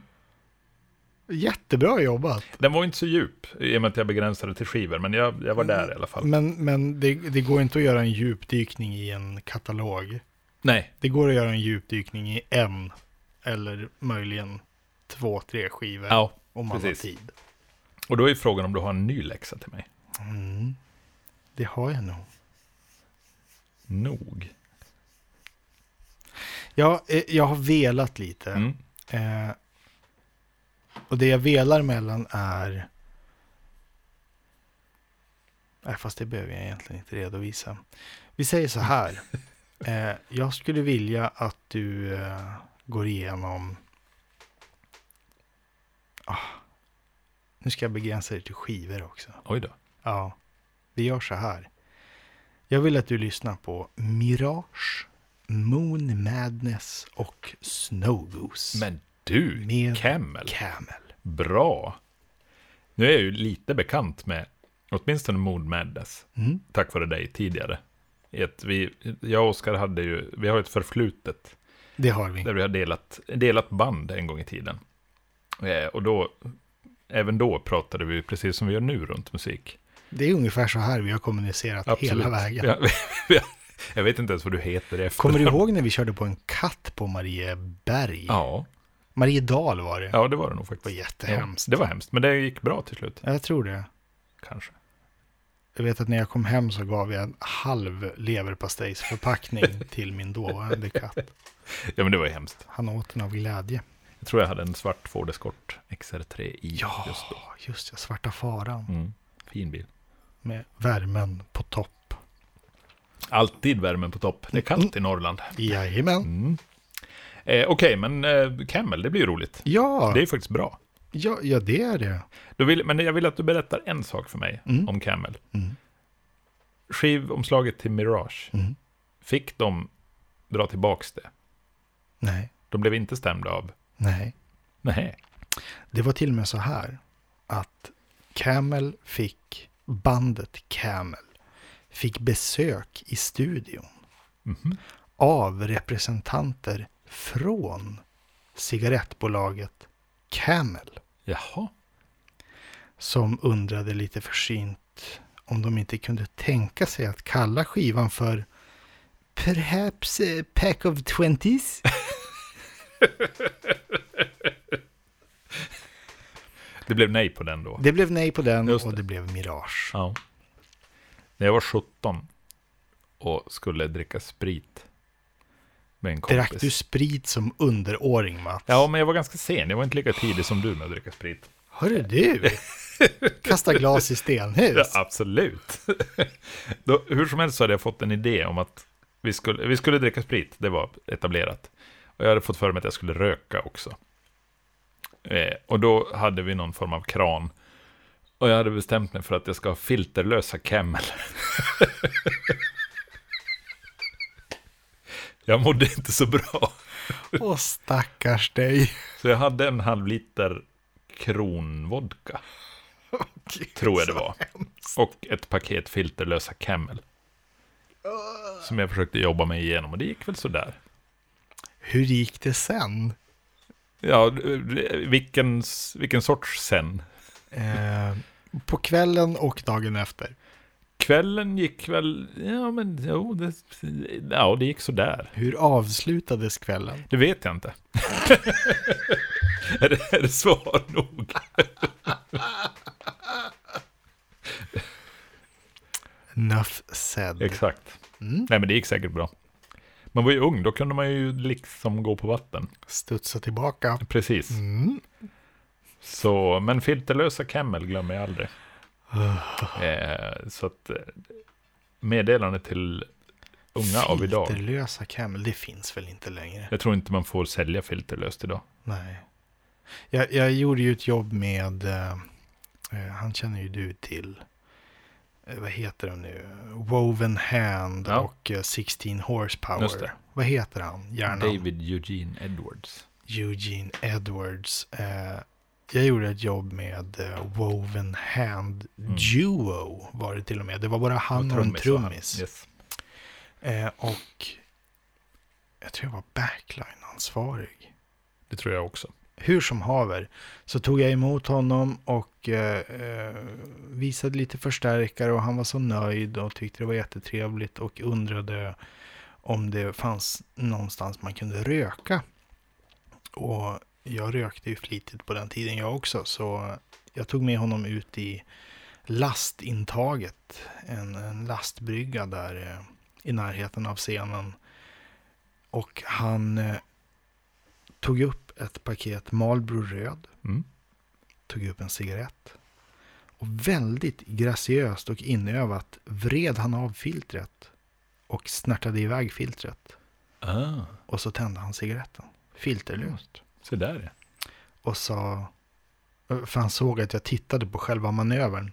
Jättebra jobbat. Den var inte så djup, i och med att jag begränsade till skivor, men jag, jag var där i alla fall. Men, men det, det går inte att göra en djupdykning i en katalog. Nej, Det går att göra en djupdykning i en eller möjligen två, tre skivor ja. om man precis. har tid. Och då är frågan om du har en ny läxa till mig. Mm. Det har jag nog. Nog. Jag, eh, jag har velat lite. Mm. Eh, och det jag velar mellan är... Nej, fast det behöver jag egentligen inte redovisa. Vi säger så här. Eh, jag skulle vilja att du eh, går igenom... Ah, nu ska jag begränsa det till skivor också. Oj då. Ja, vi gör så här. Jag vill att du lyssnar på Mirage, Moon Madness och Snow Goose. Men du, Med- Camel. Camel. Bra. Nu är jag ju lite bekant med åtminstone Mood Madness. Mm. tack vare dig tidigare. I Ett, vi, jag och Oskar hade ju, vi har ett förflutet Det har vi. där vi har delat, delat band en gång i tiden. Eh, och då, även då pratade vi precis som vi gör nu runt musik. Det är ungefär så här vi har kommunicerat hela vägen. Ja, vi- jag vet inte ens vad du heter efter. Kommer du ihåg när vi körde på en katt på Marieberg? Ja, Mariedal var det. ja, det var det nog Det var faktiskt. jättehemskt. Ja, det var hemskt, men det gick bra till slut, Jag tror det. kanske. Jag vet att när jag kom hem så gav jag en halv leverpastejsförpackning till min dåvarande katt. Ja, men det var ju hemskt. Han åt den av glädje. Jag tror jag hade en svart Ford Escort XR3 i Ja, just då. just det. Svarta faran. Mm. Fin bil. Med värmen på topp. Alltid värmen på topp. Det är kallt Mm. i Norrland. Jajamän. Mm. Eh, Okej, men eh, Camel, det blir ju roligt. Ja, Det är ju faktiskt bra. ja, ja, det är det. Då vill, men jag vill att du berättar en sak för mig Mm. om Camel. Mm. Skivomslaget till Mirage, Mm. fick de dra tillbaka det? Nej, De blev inte stämda av? nej. Nej. Det var till och med så här att Camel fick, bandet Camel, fick besök i studion Mhm. av representanter från cigarettbolaget Camel Jaha. som undrade lite försynt om de inte kunde tänka sig att kalla skivan för Perhaps a pack of twenties? Det blev nej på den då? Det blev nej på den Just och det blev Mirage. Ja. När jag var 17 och skulle dricka sprit med en kompis. Drack du sprit som underåring Mats? Ja, men jag var ganska sen. Jag var inte lika tidig som du med att dricka sprit. Hörru du, kasta glas i Ja, stenhus. absolut. Då, hur som helst så hade jag fått en idé om att vi skulle, vi skulle dricka sprit, det var etablerat. Och jag hade fått för mig att jag skulle röka också. Eh, och då hade vi någon form av kran. Och jag hade bestämt mig för att jag ska ha filterlösa Camel. jag mådde inte så bra. Åh stackars dig. Så jag hade en halv liter kronvodka, tror jag det var. Och ett paket filterlösa Camel. Som jag försökte jobba mig igenom och det gick väl sådär. Hur gick det sen? Ja, vilken, vilken sorts sen? Eh, på kvällen och dagen efter. Kvällen gick väl, ja men jo, det, ja, det gick sådär. Hur avslutades kvällen? Det vet jag inte. är, det, är det svar nog? Nuff said. Exakt. Mm. Nej men det gick säkert bra. Man var ju ung, då kunde man ju liksom gå på vatten. Studsa tillbaka. Precis. Mm. Så, men filterlösa Camel glömmer jag aldrig. eh, så att eh, meddelande till unga av idag. Filterlösa Camel, det finns väl inte längre? Jag tror inte man får sälja filterlöst idag. Nej. Jag, jag gjorde ju ett jobb med, eh, eh, han känner ju du till, eh, vad heter de nu, Woven Hand Ja. och eh, 16 Just det. Horsepower. Vad heter han, hjärnan? David Eugene Edwards. Eugene Edwards. Eh, jag gjorde ett jobb med eh, Woven Hand Mm. Duo var det till och med. Det var bara han och, en trummis. Yes. Eh, och jag tror jag var backline-ansvarig. Det tror jag också. hur som haver så tog jag emot honom och eh, eh, visade lite förstärkare och han var så nöjd och tyckte det var jättetrevligt och undrade om det fanns någonstans man kunde röka. Och jag rökte ju flitigt på den tiden jag också så jag tog med honom ut i lastintaget, en, en lastbrygga där eh, i närheten av scenen. Och han eh, tog upp ett paket Marlboro röd, Mm. tog upp en cigarett. Och väldigt graciöst och inövat vred han av filtret och snärtade iväg filtret. Ah, Och så tände han cigaretten, filterlöst. så där ja. Mm. Och sa, för han såg att jag tittade på själva manövern.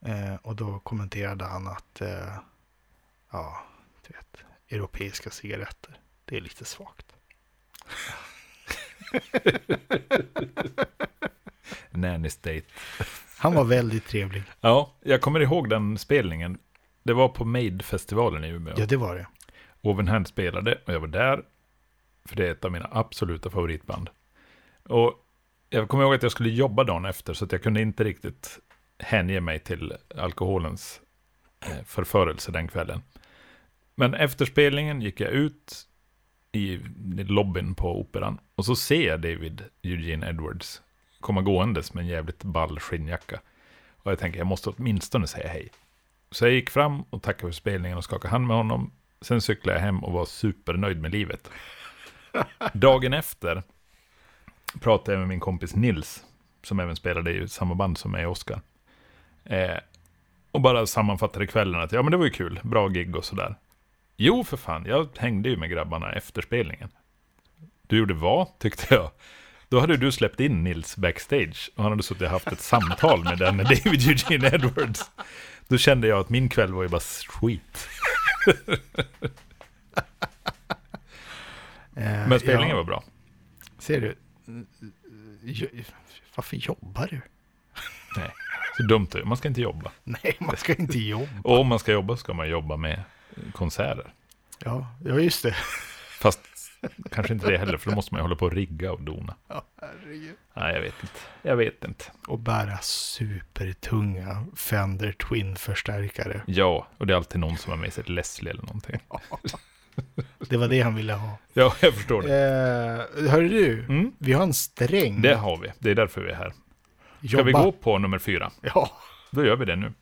Eh, och då kommenterade han att, eh, ja, du vet, europeiska cigaretter, det är lite svagt. Nanny State. Han var väldigt trevlig. Ja, jag kommer ihåg den spelningen. Det var på Made-festivalen i Umeå. Ja, det var det. Oven Hand spelade och jag var där. För det är ett av mina absoluta favoritband. Och jag kommer ihåg att jag skulle jobba dagen efter så att jag kunde inte riktigt hänge mig till alkoholens eh, förförelse den kvällen. Men efter spelningen gick jag ut i lobbyn på operan och så ser jag David Eugene Edwards komma gåendes med en jävligt ball skinnjacka. Och jag tänker jag måste åtminstone säga hej. Så jag gick fram och tackade för spelningen och skakade hand med honom. Sen cyklade jag hem och var supernöjd med livet. Dagen efter pratade jag med min kompis Nils, som även spelade i samma band som mig och Oskar. Eh, och bara sammanfattade kvällen att ja, men det var ju kul, bra gig och sådär. Jo, för fan, jag hängde ju med grabbarna efter spelningen. Du gjorde vad, tyckte jag. Då hade du släppt in Nils backstage och han hade suttit och haft ett samtal med den med David Eugene Edwards. Då kände jag att min kväll var ju bara skit. Eh, Men spelningen ja. var bra. Ser du? Mm, jo- Varför jobbar du? Nej. Så dumt är det. Man ska inte jobba. Nej, man ska inte jobba. Och om man ska jobba ska man jobba med konserter. Ja, ja just det. Fast kanske inte det heller, för då måste man ju hålla på och rigga och dona. Ja, herregud. Nej, jag vet inte. Jag vet inte. Och bära supertunga Fender Twin-förstärkare. Ja, och det är alltid någon som har med sig ett Leslie eller någonting. Det var det han ville ha. Ja, jag förstår det. Eh, hörru du, Mm. vi har en sträng. Det har vi. Det är därför vi är här. Ska Jobba. vi gå på nummer fyra? Ja. Då gör vi det nu.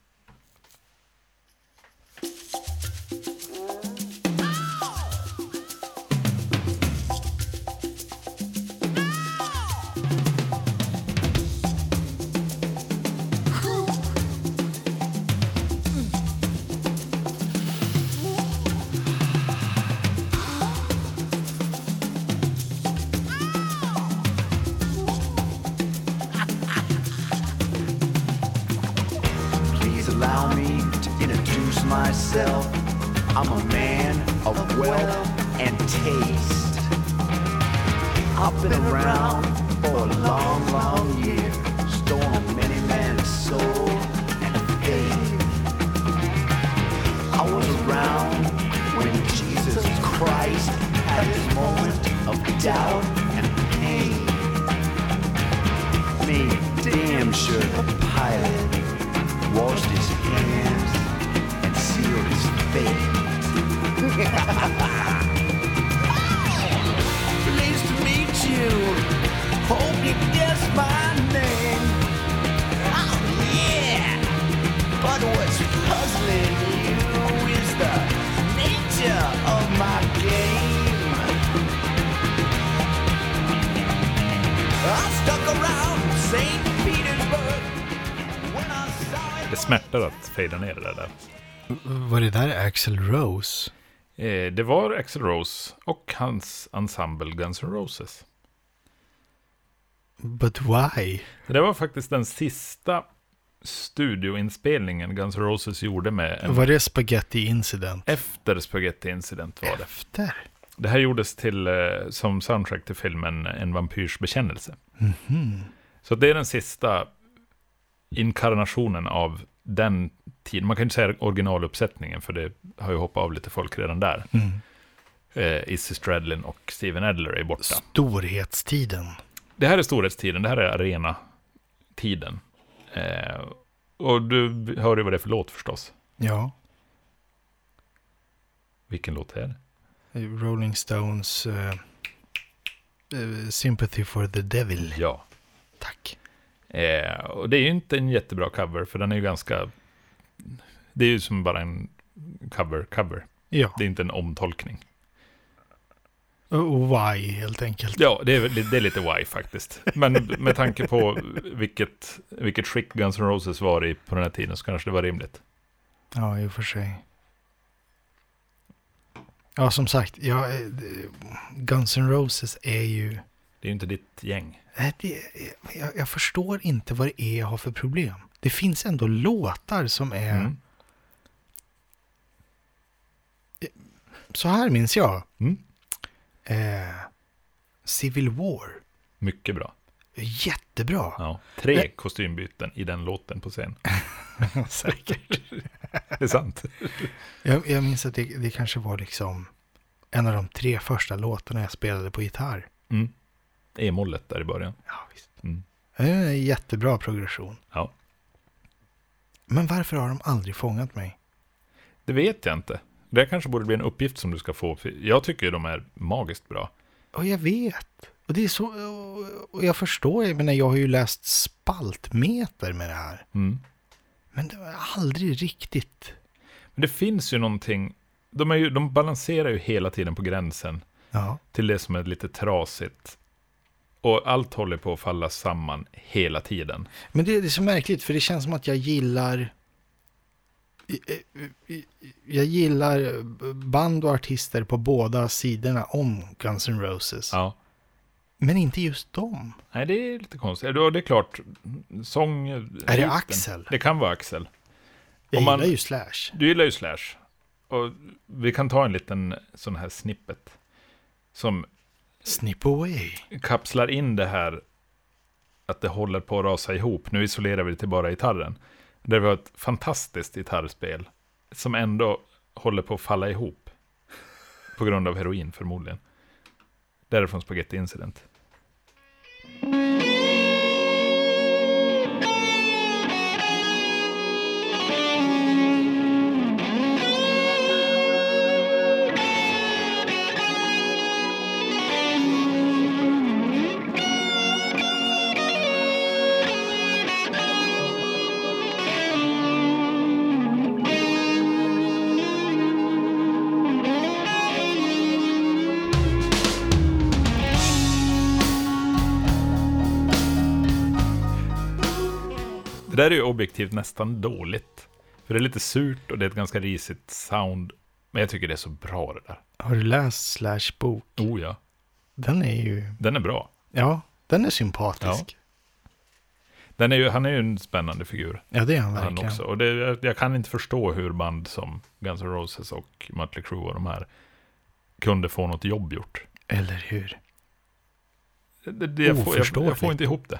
Please allow me to introduce myself. I'm a man of wealth and taste. I've been around for a long, long year, stolen many men's soul and faith. I was around when Jesus Christ had his moment of doubt and pain. Me, damn sure the pilot washed his hands and sealed his fate. Pleased to meet you. Hope you guess my name. Oh yeah. But what's puzzling you is the nature of my game. I stuck around St. Petersburg when I saw it. Det smärtar att fejda ner det där. Var det där Axel Rose? Eh, det var Axl Rose och hans ensemble Guns N' Roses. But why? Det där var faktiskt den sista studioinspelningen Guns N' Roses gjorde med en Var det Spaghetti Incident? efter Spaghetti Incident var det. Efter? Det här gjordes till, eh, som soundtrack till filmen En vampyrs bekännelse. Så det är den sista inkarnationen av den tiden. Man kan ju inte säga originaluppsättningen, för det har ju hoppat av lite folk redan där. Eh, Izzy Stradlin och Steven Adler är borta. Storhetstiden. Det här är storhetstiden, det här är arenatiden. Eh, och du hör ju vad det är för låt förstås. Ja. Vilken låt är det? Eh, Rolling Stones eh, eh, Sympathy for the Devil. Ja. Tack. Eh, och det är ju inte en jättebra cover, för den är ju ganska... Det är ju som bara en cover-cover. Ja. Det är inte en omtolkning. Och why, helt enkelt. Ja, det är, väl- det är lite why faktiskt. Men med tanke på vilket, vilket skick Guns N' Roses var i på den här tiden så kanske det var rimligt. Ja, i och för sig. Ja, som sagt, ja, eh, det- Guns N' Roses är ju... Det är ju inte ditt gäng. Nej, det, jag, jag förstår inte vad det är jag har för problem. Det finns ändå låtar som är... Mm. Eh, Så här minns jag. Mm. Eh, Civil War. Mycket bra. Jättebra. Ja. Tre kostymbyten i den låten på scen. Säkert. Det är sant. Jag, jag minns att det, det kanske var liksom en av de tre första låtarna jag spelade på gitarr. Mm. E-mollet där i början. Ja, visst. Mm. Det är en jättebra progression. Ja. Men varför har de aldrig fångat mig? Det vet jag inte. Det kanske borde bli en uppgift som du ska få. för Jag tycker ju de är magiskt bra. Och jag vet. Och det är så... Och jag förstår, jag menar jag har ju läst spaltmeter med det här. Mm. Men det var aldrig riktigt. Men det finns ju någonting, de, är ju, de balanserar ju hela tiden på gränsen Ja, till det som är lite trasigt Och allt håller på att falla samman hela tiden. Men det, det är så märkligt, för det känns som att jag gillar... Jag gillar band och artister på båda sidorna om Guns N' Roses. Ja. Men inte just dem. Nej, det är lite konstigt. Ja, Det är klart, sång... Är det Axel? Det kan vara Axel. Jag Om man- gillar ju Slash. Du gillar ju Slash. Och vi kan ta en liten sån här snippet. Som Snip away. kapslar in det här att det håller på att rasa ihop. Nu isolerar vi det till bara gitarren. Där vi har ett fantastiskt gitarrspel som ändå håller på att falla ihop. På grund av heroin förmodligen. Därifrån Spaghetti Incident. Det där är ju objektivt nästan dåligt. För det är lite surt och det är ett ganska risigt sound. Men jag tycker det är så bra det där. Har du läst Slash bok? Oh ja, Den är ju... den är bra. Ja, den är sympatisk. Den är ju, han är ju en spännande figur. Ja, det är han han verkligen. också. Och det, jag, jag kan inte förstå hur band som Guns N' Roses och Mötley Crüe och de här kunde få något jobb gjort. Eller hur? Det, det, jag, får, jag, jag Oförståeligt. får inte ihop det.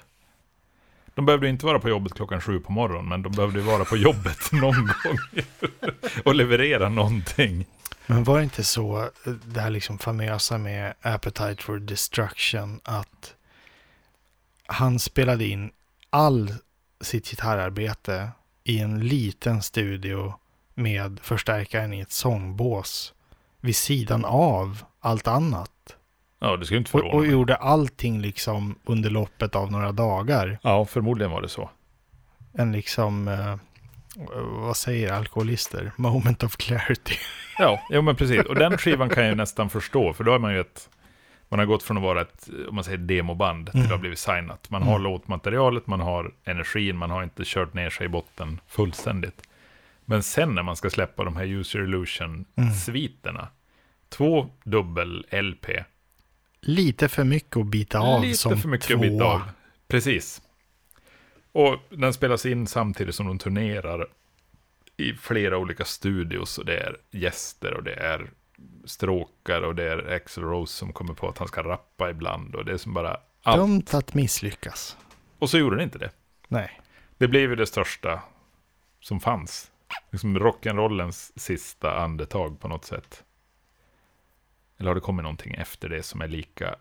De behövde ju inte vara på jobbet klockan sju på morgonen, men de behövde ju vara på jobbet någon gång och leverera någonting. Men var det inte så, eh, det här liksom famösa med Appetite for Destruction, att han spelade in all sitt gitarrarbete i en liten studio med förstärkaren i ett sångbås vid sidan av allt annat. Ja, det skulle inte Och, förvåna och mig. gjorde allting liksom under loppet av några dagar. Ja, förmodligen var det så. En liksom, eh, vad säger alkoholister? Moment of clarity. Ja, jo, men precis. Och den skivan kan jag ju nästan förstå, för då har man ju ett... Man har gått från att vara ett, om man säger demoband, till att ha blivit signat. Man har låtmaterialet, man har energin, man har inte kört ner sig i botten fullständigt. Men sen när man ska släppa de här User Illusion-sviterna, två dubbel-LP, Lite för mycket att bita av som lite för mycket tvåa. att bita av. Precis. Och den spelas in samtidigt som de turnerar i flera olika studios och det är gäster och det är stråkar och det är Axl Rose som kommer på att han ska rappa ibland och det är som bara allt. Dumt att misslyckas. Och så gjorde den inte det. Nej. Det blev ju det största som fanns. Liksom rock'n'rollens sista andetag på något sätt. Eller har det kommit någonting efter det som är lika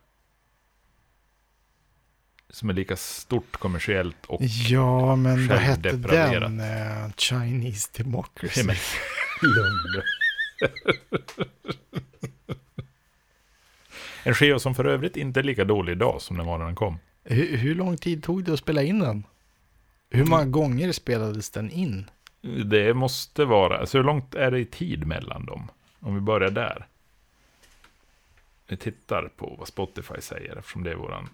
som är lika stort kommersiellt och... Ja, men vad hette Självdepraverat. den? Eh, Chinese Democracy. Nej, men lugn nu. En skiva som för övrigt inte är lika dålig idag som den var när den kom. Hur, hur lång tid tog det att spela in den? Hur många gånger spelades den in? Det måste vara, alltså hur långt är det i tid mellan dem? Om vi börjar där. Vi tittar på vad Spotify säger, eftersom det är våran,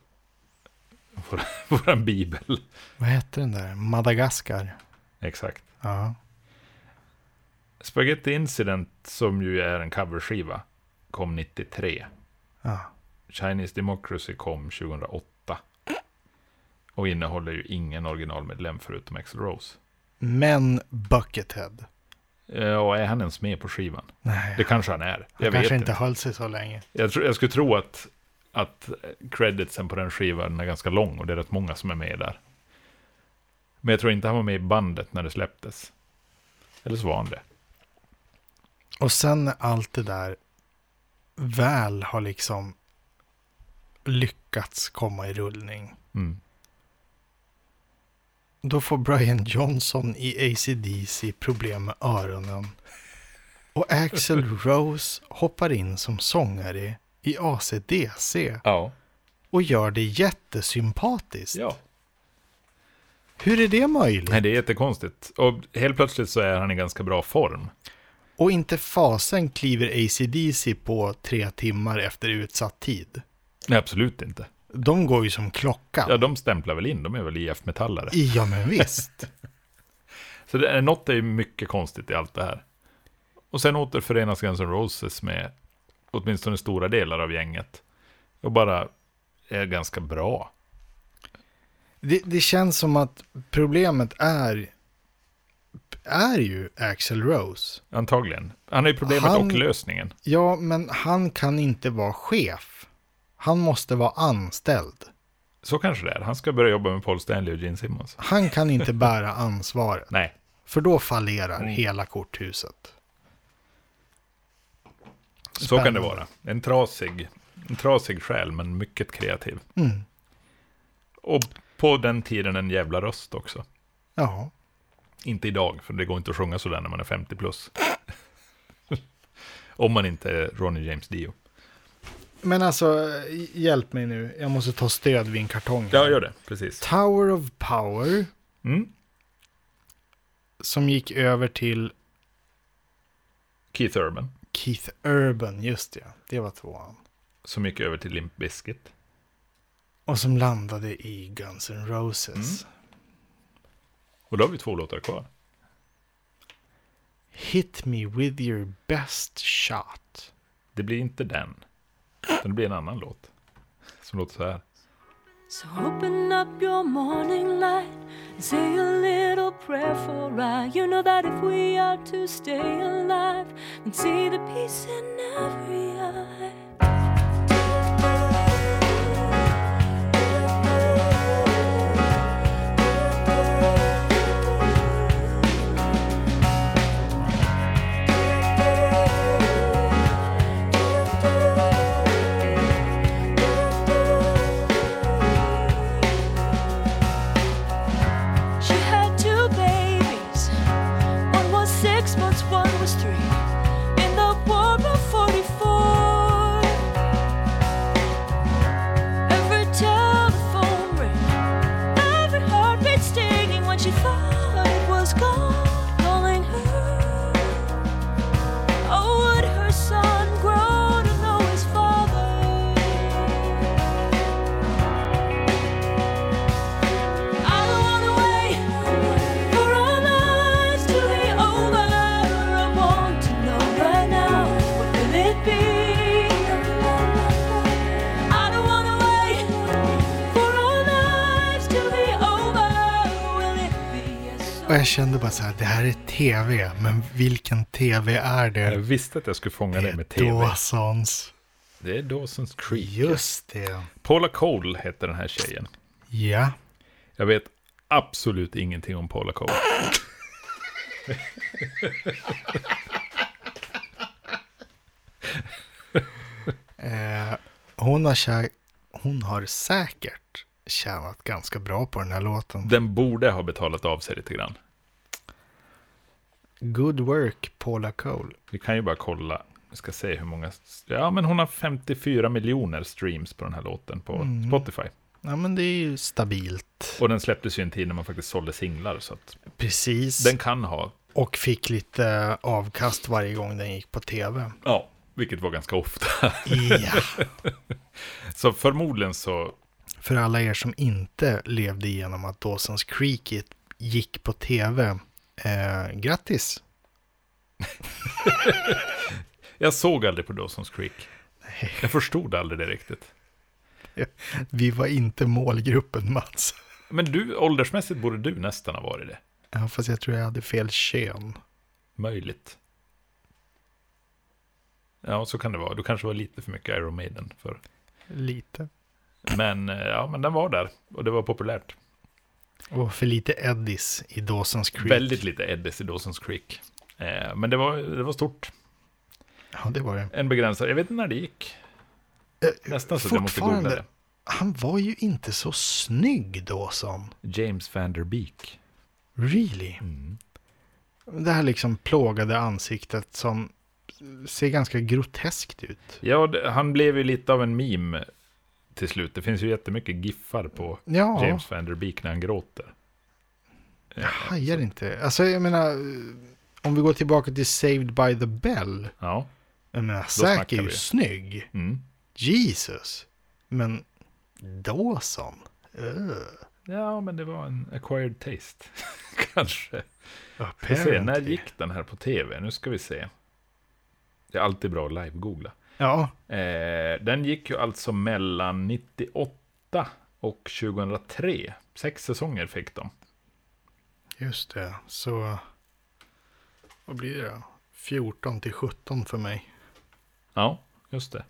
våran, våran bibel. Vad hette den där? Madagaskar. Exakt. Ja. Spaghetti Incident, som ju är en coverskiva, kom 93. ja. Chinese Democracy kom 2008. Och innehåller ju ingen originalmedlem förutom Axl Rose. Men Buckethead. Eh, Och är han ens med på skivan? Nej, Det kanske han är. han Jag vet kanske inte. inte höll sig så länge. Jag, tror, jag skulle tro att, att creditsen på den skivan är ganska lång och det är rätt många som är med där. Men jag tror inte han var med i bandet när det släpptes. Eller så var han det. Och sen när allt det där väl har liksom lyckats komma i rullning. Mm. Då får Brian Johnson i ACDC problem med öronen. Och Axel Rose hoppar in som sångare i ACDC Ja. och gör det jättesympatiskt. ja. Hur är det möjligt? Nej, det är jättekonstigt. Och helt plötsligt så är han i ganska bra form. Och inte fasen kliver ACDC på tre timmar efter utsatt tid. Nej, absolut inte. De går ju som klockan. Ja, de stämplar väl in, de är väl IF-metallare. Ja, men visst. Så det, är- något är ju mycket konstigt i allt det här. Och sen återförenas Guns N' Roses med åtminstone stora delar av gänget. Och bara är ganska bra. Det, det känns som att problemet är, är ju Axel Rose. Antagligen. Han är ju problemet Han- och lösningen. Ja, men han kan inte vara chef. Han måste vara anställd. Så kanske det är. Han ska börja jobba med Paul Stanley och Gene Simmons. Han kan inte bära ansvaret, Nej, för då fallerar Mm. hela korthuset. så kan det Spännande. vara. En trasig, en trasig själ, men mycket kreativ. Mm. Och på den tiden en jävla röst också. Ja, Inte idag, för det går inte att sjunga sådär när man är 50 plus. Om man inte är Ronny James Dio. men alltså hj- hjälp mig nu. Jag måste ta stöd vid en kartong. Ja, gör det. Precis. Tower of Power Mm. som gick över till Keith Urban, Keith Urban, just det. Det var tvåan. som gick över till Limp Bizkit. Och som landade i Guns N' Roses. Mm. Och då har vi två låtar kvar. Hit me with your best shot. Det blir inte den. Utan det blir en annan låt. Som låter så här. So open up your morning light and say a little prayer for I. You know that if we are to stay alive and see the peace in every eye. She had two babies. One was six months, one was three. In the war of 44. Every telephone ring, every heartbeat stinging when she thought it was gone. Calling her. Oh, would her son grow to know his father? I don't wanna wait for our lives to be over. I want to know right now what will it be? I don't wanna wait for our lives to be over. Will it be yes Och or jag kände bara så här, det här är tv, men vilken tv är Jag det? visste att jag skulle fånga det med Det är tv. Dawsons. Det är Dawson's Creek. Just det. Paula Cole heter den här tjejen. Ja. Jag vet absolut ingenting om Paula Cole. Eh, hon, har kä- hon har säkert tjänat ganska bra på den här låten. Den borde ha betalat av sig lite grann. Good work, Paula Cole. Vi kan ju bara kolla. Vi ska se hur många... Ja, men hon har 54 miljoner streams på den här låten på Spotify. Ja, men det är ju stabilt. Och den släpptes ju i en tid när man faktiskt sålde singlar. Så att Precis. den kan ha... Och fick lite avkast varje gång den gick på tv. Ja. Vilket var ganska ofta. Ja. Så förmodligen så... För alla er som inte levde igenom att Dawson's Creek gick- gick på tv, eh, grattis! Jag såg aldrig på Dawson's Creek. Jag förstod aldrig det riktigt. Vi var inte målgruppen Mats. Men du, åldersmässigt borde du nästan ha varit det. Ja, fast jag tror jag hade fel kön. Möjligt. Ja, så kan det vara. Du kanske var lite för mycket Iron Maiden för. Lite. Men eh, ja, men den var där och det var populärt. Och för lite Eddies i Dawson's Creek. Väldigt lite Eddies i Dawson's Creek. Eh, men det var, det var stort. Ja, det var det. En begränsad, jag vet inte när det gick. Eh, Nästan så att jag måste fortfarande- googla det. Han var ju inte så snygg Dawson. James van der Beek. Really? Mm. Det här liksom plågade ansiktet som ser ganska groteskt ut. Ja, det- han blev ju lite av en meme till slut. Det finns ju jättemycket giffar på Ja, James van der Beek när han gråter. jag hajar inte. Alltså jag menar, om vi går tillbaka till Saved by the Bell. Ja, mm. Jag menar, snackar Zac är ju vi. snygg. mm. Jesus. Men Dawson? Öh. Ja, men det var en acquired taste. Kanske. Vi får se, när Apparently. gick den här på tv? Nu ska vi se. Det är alltid bra att live-googla. Ja, Eh, den gick ju alltså mellan 98 och 2003. Sex säsonger fick de. just det. Så vad blir det då? 14 till 17 för mig. Ja, just det.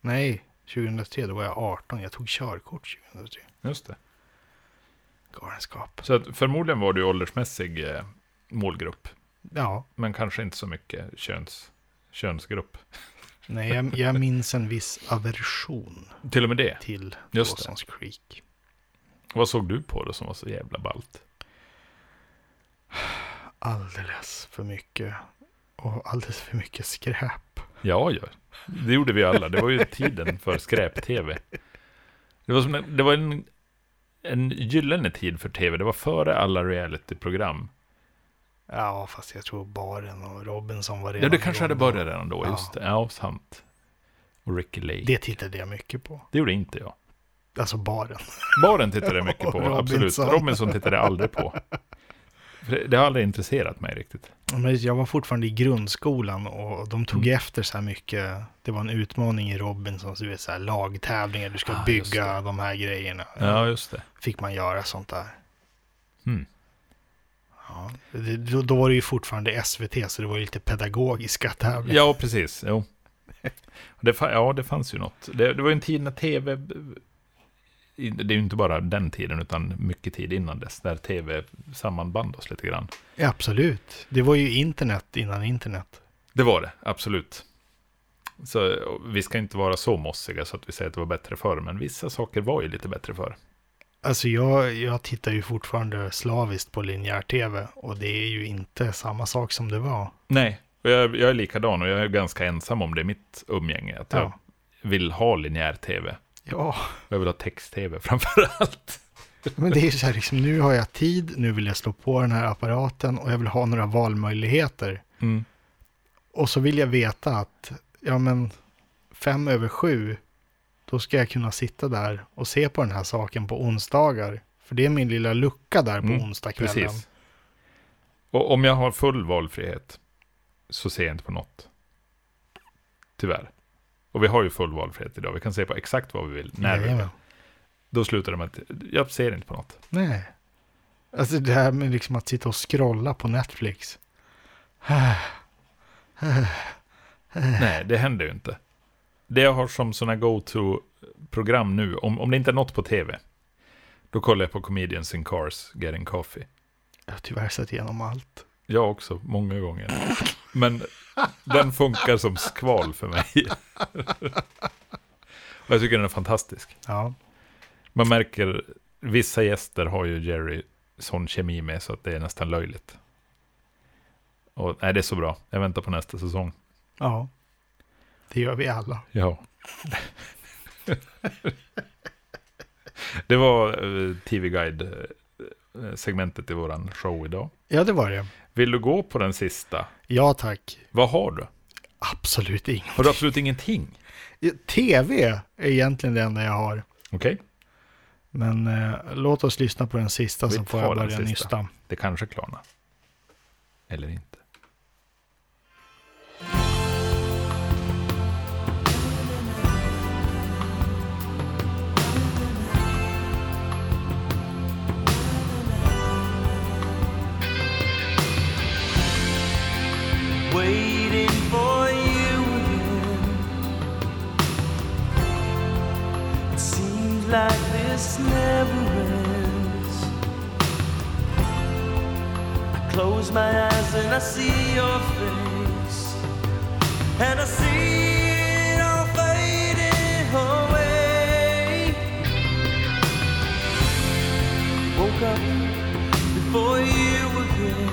Nej, 2003 då var jag 18. Jag tog körkort 2003. Just det. Galenskap. Så att förmodligen var du åldersmässig eh, målgrupp, Ja, men kanske inte så mycket köns, könsgrupp. nej, jag, jag minns en viss aversion Till och med det. till Just Dawson's Creek. Vad såg du på det som var så jävla ballt? Alldeles för mycket och alldeles för mycket skräp. Ja, ja. Det gjorde vi alla. Det var ju tiden för skräp-tv. Det var, som en, det var en, en gyllene tid för tv. Det var före alla reality-program. Ja, fast jag tror baren och Robinson var redan Ja, det kanske hade igång då. börjat redan då. Just det. Ja, sant. Och Ricky Lake. Det, Det tittade jag mycket på. gjorde inte jag. Alltså baren. Baren tittade jag mycket på, Och absolut. Robinson. Robinson tittade jag aldrig på. För det, det har aldrig intresserat mig riktigt. Men jag var fortfarande i grundskolan och de tog Mm. efter så här mycket. Det var en utmaning i Robinson, så du vet så här lagtävlingar, du ska Ah, just bygga de här grejerna. Ja, just det. Fick man göra sånt där. Mm. Ja, det, då, då var det ju fortfarande SVT, så det var ju lite pedagogiska tävlingar. Ja, precis. Jo. Det, fa- ja, det fanns ju något. Det, det var ju en tid när tv... i- Det är ju inte bara den tiden, utan mycket tid innan dess, när tv sammanband oss lite grann. Ja. Absolut. Det var ju internet innan internet. Det var det, absolut. Så och vi ska inte vara så mossiga så att vi säger att det var bättre förr, men vissa saker var ju lite bättre förr. Alltså jag, jag tittar ju fortfarande slaviskt på linjär-tv och det är ju inte samma sak som det var. Nej. Och jag, jag är likadan och jag är ganska ensam om det i mitt umgänge, att jag Ja. vill ha linjär tv. Ja, Och jag vill ha text-tv framför allt. men det är ju så här liksom, nu har jag tid, nu vill jag slå på den här apparaten och jag vill ha några valmöjligheter. Mm. Och så vill jag veta att, ja men, fem över sju, då ska jag kunna sitta där och se på den här saken på onsdagar. För det är min lilla lucka där på Mm, onsdagskvällen. Precis. Och om jag har full valfrihet så ser jag inte på något. Tyvärr. Och vi har ju full valfrihet idag. Vi kan se på exakt vad vi vill. När vi vill. Jajamän. Då slutar det med att jag ser inte på något. Nej. Alltså det här med liksom att sitta och scrolla på Netflix. Nej, det händer ju inte. Det jag har som sådana go-to-program nu, om, om det inte är något på tv, då kollar jag på Comedians in Cars, Getting Coffee. Jag har tyvärr sett igenom allt. Jag också, många gånger. Men den funkar som skval för mig. Och jag tycker den är fantastisk. Ja, Man märker, vissa gäster har ju Jerry sån kemi med så att det är nästan löjligt. Och nej, det är så bra. Jag väntar på nästa säsong. ja. Det gör vi alla. Ja. det var eh, TV-guide-segmentet eh, i våran show idag. Ja, det var det. Vill du gå på den sista? Ja, tack. Vad har du? Absolut inget. Har du absolut ingenting? TV är egentligen det enda jag har. Okej, Men eh, låt oss lyssna på den sista Vi så får tar jag den börja sista. nysta. det kanske klarnar. Eller inte. waiting for you again. It seems like this never ends. I close my eyes and I see your face, and I see it all fading away. Woke up before you again.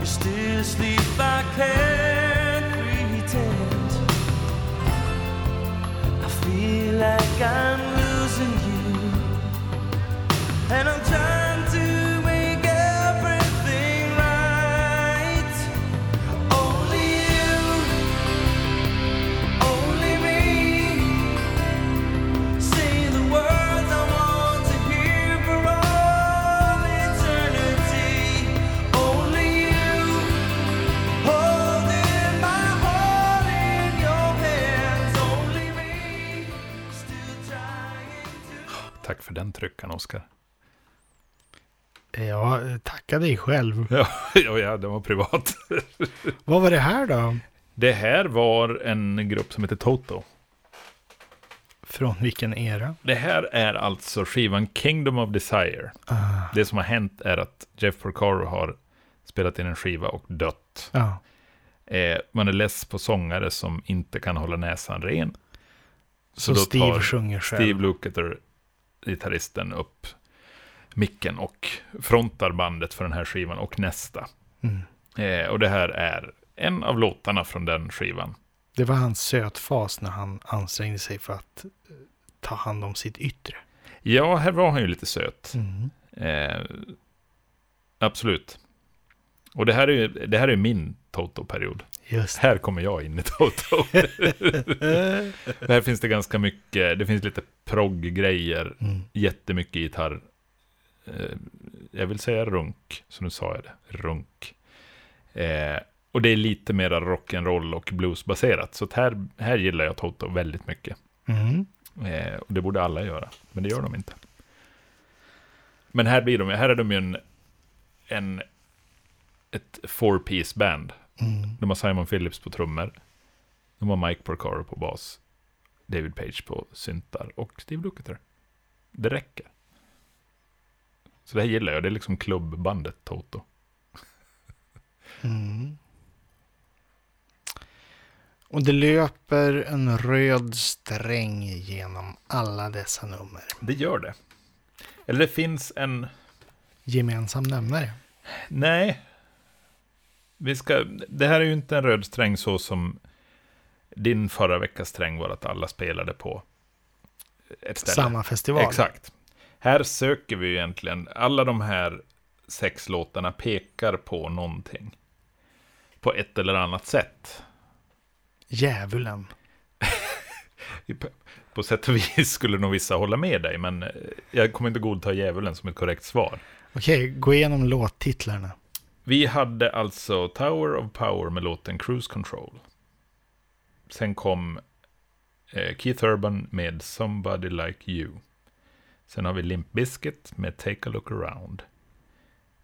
You still sleep, I can't pretend. I feel like I'm losing you, and I'm trying to make everything right. Only you, only me. för den tryckan, Oskar. Ja, tacka dig själv. Ja, ja, ja, den var privat. Vad var det här då? Det här var en grupp som heter Toto. Från vilken era? Det här är alltså skivan Kingdom of Desire. Ah, Det som har hänt är att Jeff Porcaro har spelat in en skiva och dött. ja. Eh, man är less på sångare som inte kan hålla näsan ren. Så, då Steve tar sjunger själv. Steve Lukather, gitarristen, upp micken och frontar bandet för den här skivan och nästa. Mm. Eh, och det här är en av låtarna från den skivan. Det var hans sötfas när han ansträngde sig för att eh, ta hand om sitt yttre. Ja, här var han ju lite söt. Mm. Eh, absolut. Och det här är ju det här är min Toto-period. Just Här kommer jag in i Toto. här finns det ganska mycket, det finns lite progg-grejer, Mm. jättemycket gitarr. Eh, jag vill säga runk, så nu sa jag det, runk. Eh, och det är lite mera rock'n'roll och bluesbaserat, så att här, här gillar jag Toto väldigt mycket. Mm. Eh, och det borde alla göra, men det gör de inte. Men här, blir de, här är de ju en, en ett four-piece band. Mm. De har Simon Phillips på trummor. De har Mike Porcaro på bas. David Page på syntar och Steve Lukather. Det räcker. Så det här gillar jag. Det är liksom klubbbandet Toto. Mm. Och det löper en röd sträng genom alla dessa nummer. Det gör det. Eller det finns en... Gemensam nämnare. Nej. Vi ska... Det här är ju inte en röd sträng så som din förra veckas sträng var att alla spelade på ett ställe. Samma festival. Exakt. Här söker vi ju egentligen, alla de här sex låtarna pekar på någonting. På ett eller annat sätt. Djävulen. I- på- På sätt och vis skulle nog vissa hålla med dig, men eh, jag kommer inte godta djävulen som ett korrekt svar. Okej, gå igenom låttitlarna. Vi hade alltså Tower of Power med låten Cruise Control. Sen kom eh, Keith Urban med Somebody Like You. Sen har vi Limp Bizkit med Take a Look Around.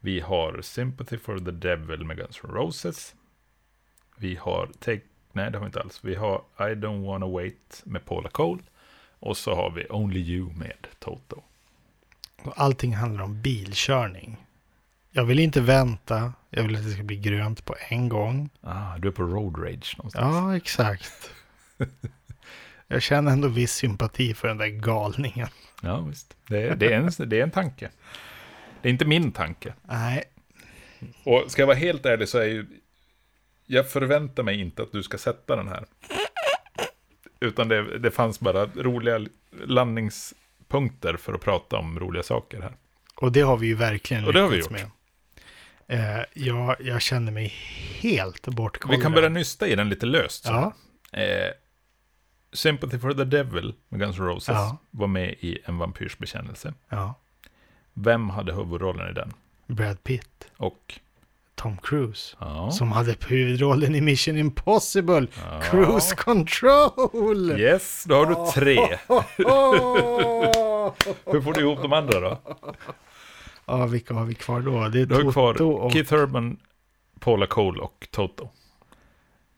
Vi har Sympathy for the Devil med Guns N' Roses. Vi har Take... Nej, det har vi inte alls. Vi har I Don't Wanna Wait med Paula Cole. Och så har vi Only You med Toto. Och allting handlar om bilkörning. Jag vill inte vänta. Jag vill att det ska bli grönt på en gång. Ah, du är på Road Rage någonstans. Ja, exakt. Jag känner ändå viss sympati för den där galningen. Ja, visst. Det är, det, är en, det är en tanke. Det är inte min tanke. Nej, Och ska jag vara helt ärlig så är ju... Jag förväntar mig inte att du ska sätta den här. Utan det, det fanns bara roliga landningspunkter för att prata om roliga saker här. och det har vi ju verkligen Och det har vi lyckats gjort. med. Eh, jag, jag känner mig helt bortkollrad. Vi kan börja nysta i den lite löst. Så. Ja, Eh, Sympathy for the Devil med Guns N' Roses Ja. var med i En vampyrs bekännelse. ja. Vem hade huvudrollen i den? Brad Pitt, Och... Tom Cruise. Ja. Som hade huvudrollen i Mission Impossible, Cruise Control! Yes, då har du tre. Åh! Hur får du ihop de andra då? Ja, vilka har vi kvar då? Det är Du har Toto ju kvar och... Keith Urban, Paula Cole och Toto.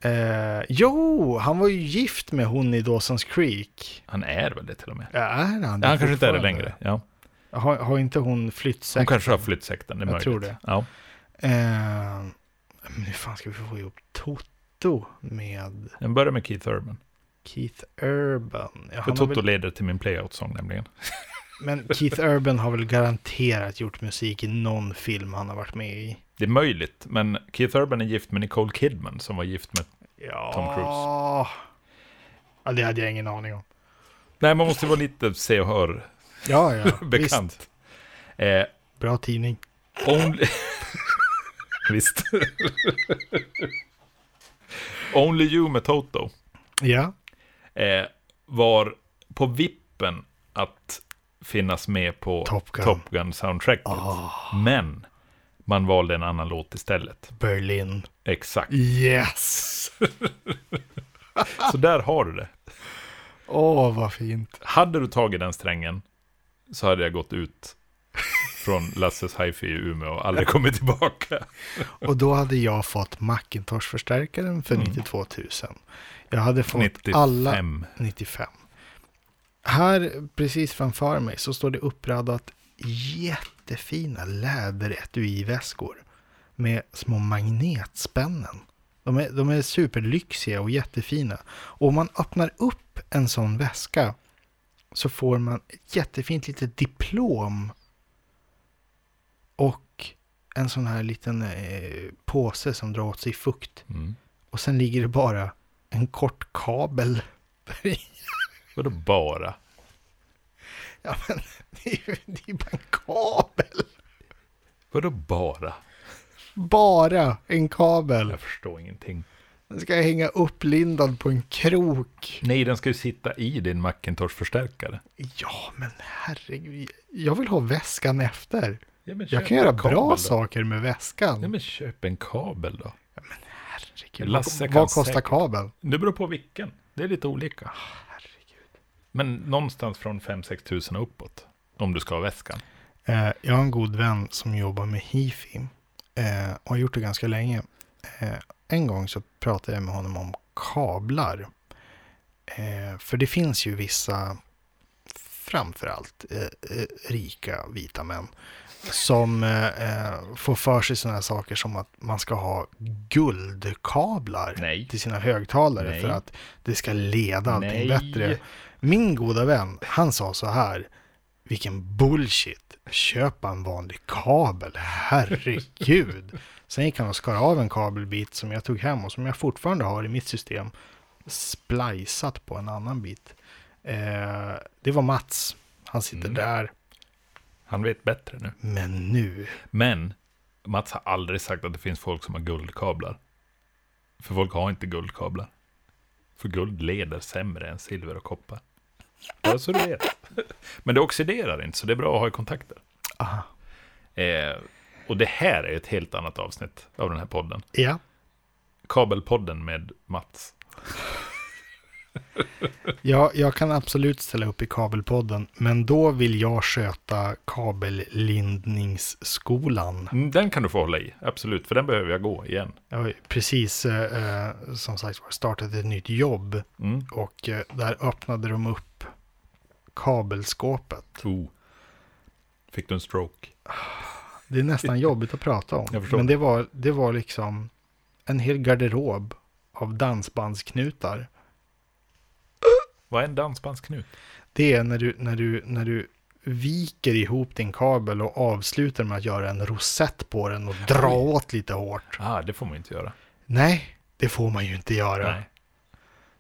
Eh, jo, han var ju gift med hon i Dawson's Creek. Han är väl det till och med? Ja, Är han det Ja, han kanske inte är det fortfarande? längre. Ja. Har, har inte hon Hon flyttsäck? kanske har flytt sekten, det är Jag möjligt. tror det. Ja. Eh, men hur fan ska vi få ihop Toto med Den börjar med Keith Urban. Keith Urban? Ja, För han har Toto väl, leder till min playout-sång nämligen. men Keith Urban har väl garanterat gjort musik i någon film han har varit med i? Det är möjligt, men Keith Urban är gift med Nicole Kidman som var gift med... Ja. Tom Cruise. Ja, det hade jag ingen aning om. Nej, man måste vara lite se och hör-bekant. Ja, ja. Visst, Eh, bra tidning. Only... Visst. Only You med Toto. Ja. eh, var på vippen att finnas med på Top Gun. Ah. soundtracket. Men man valde en annan låt istället. Berlin. Exakt. Yes! Så där har du det. Åh, vad fint. Hade du tagit den strängen så hade jag gått ut från Lasses hifi i Umeå och aldrig kommit tillbaka. Och då hade jag fått Macintosh-förstärkaren för 92 000. Jag hade fått alla 95. 95. Här precis framför mig så står det uppradat jättefina läderetuiväskor med små magnetspännen. De är, de är superlyxiga och jättefina. Och om man öppnar upp en sån väska så får man ett jättefint litet diplom och en sån här liten eh, påse som drar åt sig fukt. Mm. Och sen ligger det bara en kort kabel där i. Vadå bara? Ja, men det är ju det är ju bara en kabel. Vadå bara? Bara en kabel. Jag förstår ingenting. Den ska jag hänga upplindad på en krok. Nej, den ska ju sitta i din Macintosh-förstärkare. Ja, men herregud. Jag vill ha väskan efter. Ja, men Jag köp kan göra en kabel bra då. saker med Ja, väskan. men köp en kabel då. Herregud. Lasse kan Vad kostar säkert. kabeln? Det beror på vilken. Det är lite olika. Men någonstans från 5-6 tusen och uppåt. Om du ska ha väskan. Eh, jag har en god vän som jobbar med hifi eh, och har gjort det ganska länge. Eh, en gång så pratade jag med honom om kablar. Eh, för det finns ju vissa, framförallt eh, eh, rika vita män, som eh, eh, får för sig sådana här saker som att man ska ha guldkablar Nej. till sina högtalare Nej. för att det ska leda allting Nej. bättre. Min goda vän, han sa så här, vilken bullshit. Köpa en vanlig kabel, herregud. Sen gick han och skar av en kabelbit som jag tog hem och som jag fortfarande har i mitt system. Splicat på en annan bit. Eh, det var Mats, han sitter Mm. där. Han vet bättre nu. Men nu, Men Mats har aldrig sagt att det finns folk som har guldkablar. För folk har inte guldkablar. För guld leder sämre än silver och koppar. Bara så du vet. Men det oxiderar inte, så det är bra att ha i kontakter. Aha. Eh, och det här är ett helt annat avsnitt av den här podden. ja. Kabelpodden med Mats. Jag, jag kan absolut ställa upp i kabelpodden, men då vill jag sköta kabellindningsskolan. Mm, Den kan du få hålla i, absolut. För den behöver jag gå igen. Jag har ju precis, eh, eh, som sagt var, startat ett nytt jobb Mm. och eh, där öppnade de upp kabelskåpet. Oh. Fick du en stroke? Det är nästan jobbigt att prata om, Jag förstår. men det var, det var liksom en hel garderob av dansbandsknutar. Vad är en dansbandsknut? Det är när du, när du, när du viker ihop din kabel och avslutar med att göra en rosett på den och dra åt lite hårt. Ah, det får man ju inte göra. Nej, det får man ju inte göra. Nej.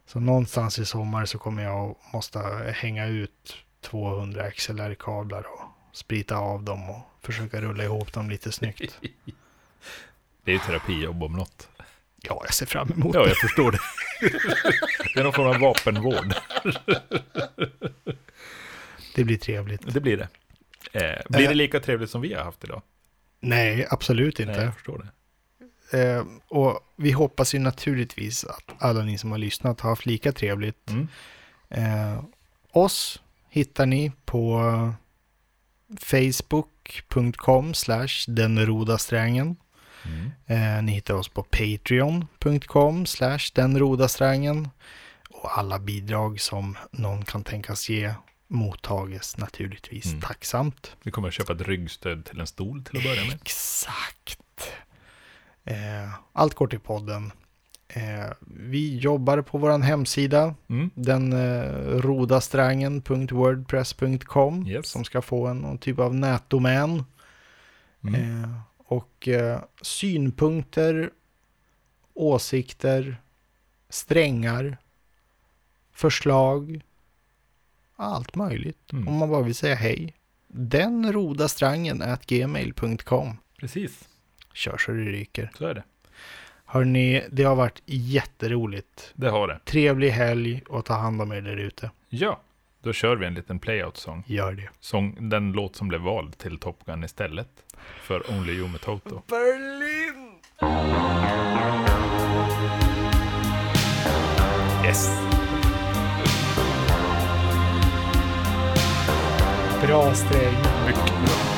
Så någonstans i sommar så kommer jag och måste hänga ut 200 XLR-kablar och sprita av dem och försöka rulla ihop dem lite snyggt. Det är ju terapijobb om något. Ja, jag ser fram emot Ja, det. jag förstår det. Det är någon form av vapenvård. Det blir trevligt. Det blir det. Eh, blir Eh. det lika trevligt som vi har haft idag? Nej, absolut Nej, jag inte. förstår det. Eh, och vi hoppas ju naturligtvis att alla ni som har lyssnat har haft lika trevligt. Mm. Eh, oss hittar ni på facebook.com slash denrodasträngen. Mm. Eh, ni hittar oss på patreon.com slash denrodastrangen. Och alla bidrag som någon kan tänkas ge mottages naturligtvis Mm. tacksamt. Vi kommer att köpa ett ryggstöd till en stol till att börja med. Exakt. Eh, allt går till podden. Eh, vi jobbar på vår hemsida, Mm. den eh, rodastrangen.wordpress.com, Yes. som ska få en någon typ av nätdomän. Mm. Eh, och eh, synpunkter, åsikter, strängar, förslag, allt möjligt. Mm. Om man bara vill säga hej. Den rodastrangen at gmail.com. Precis, Kör så det ryker. så är det. Hörrni, det har varit jätteroligt. Det har det. Trevlig helg och ta hand om er där ute. Ja, då kör vi en liten playout-sång. Gör det. Sång, den låt som blev vald till Top Gun istället. För Only You med Toto. Yes! Bra sträng. Mycket bra.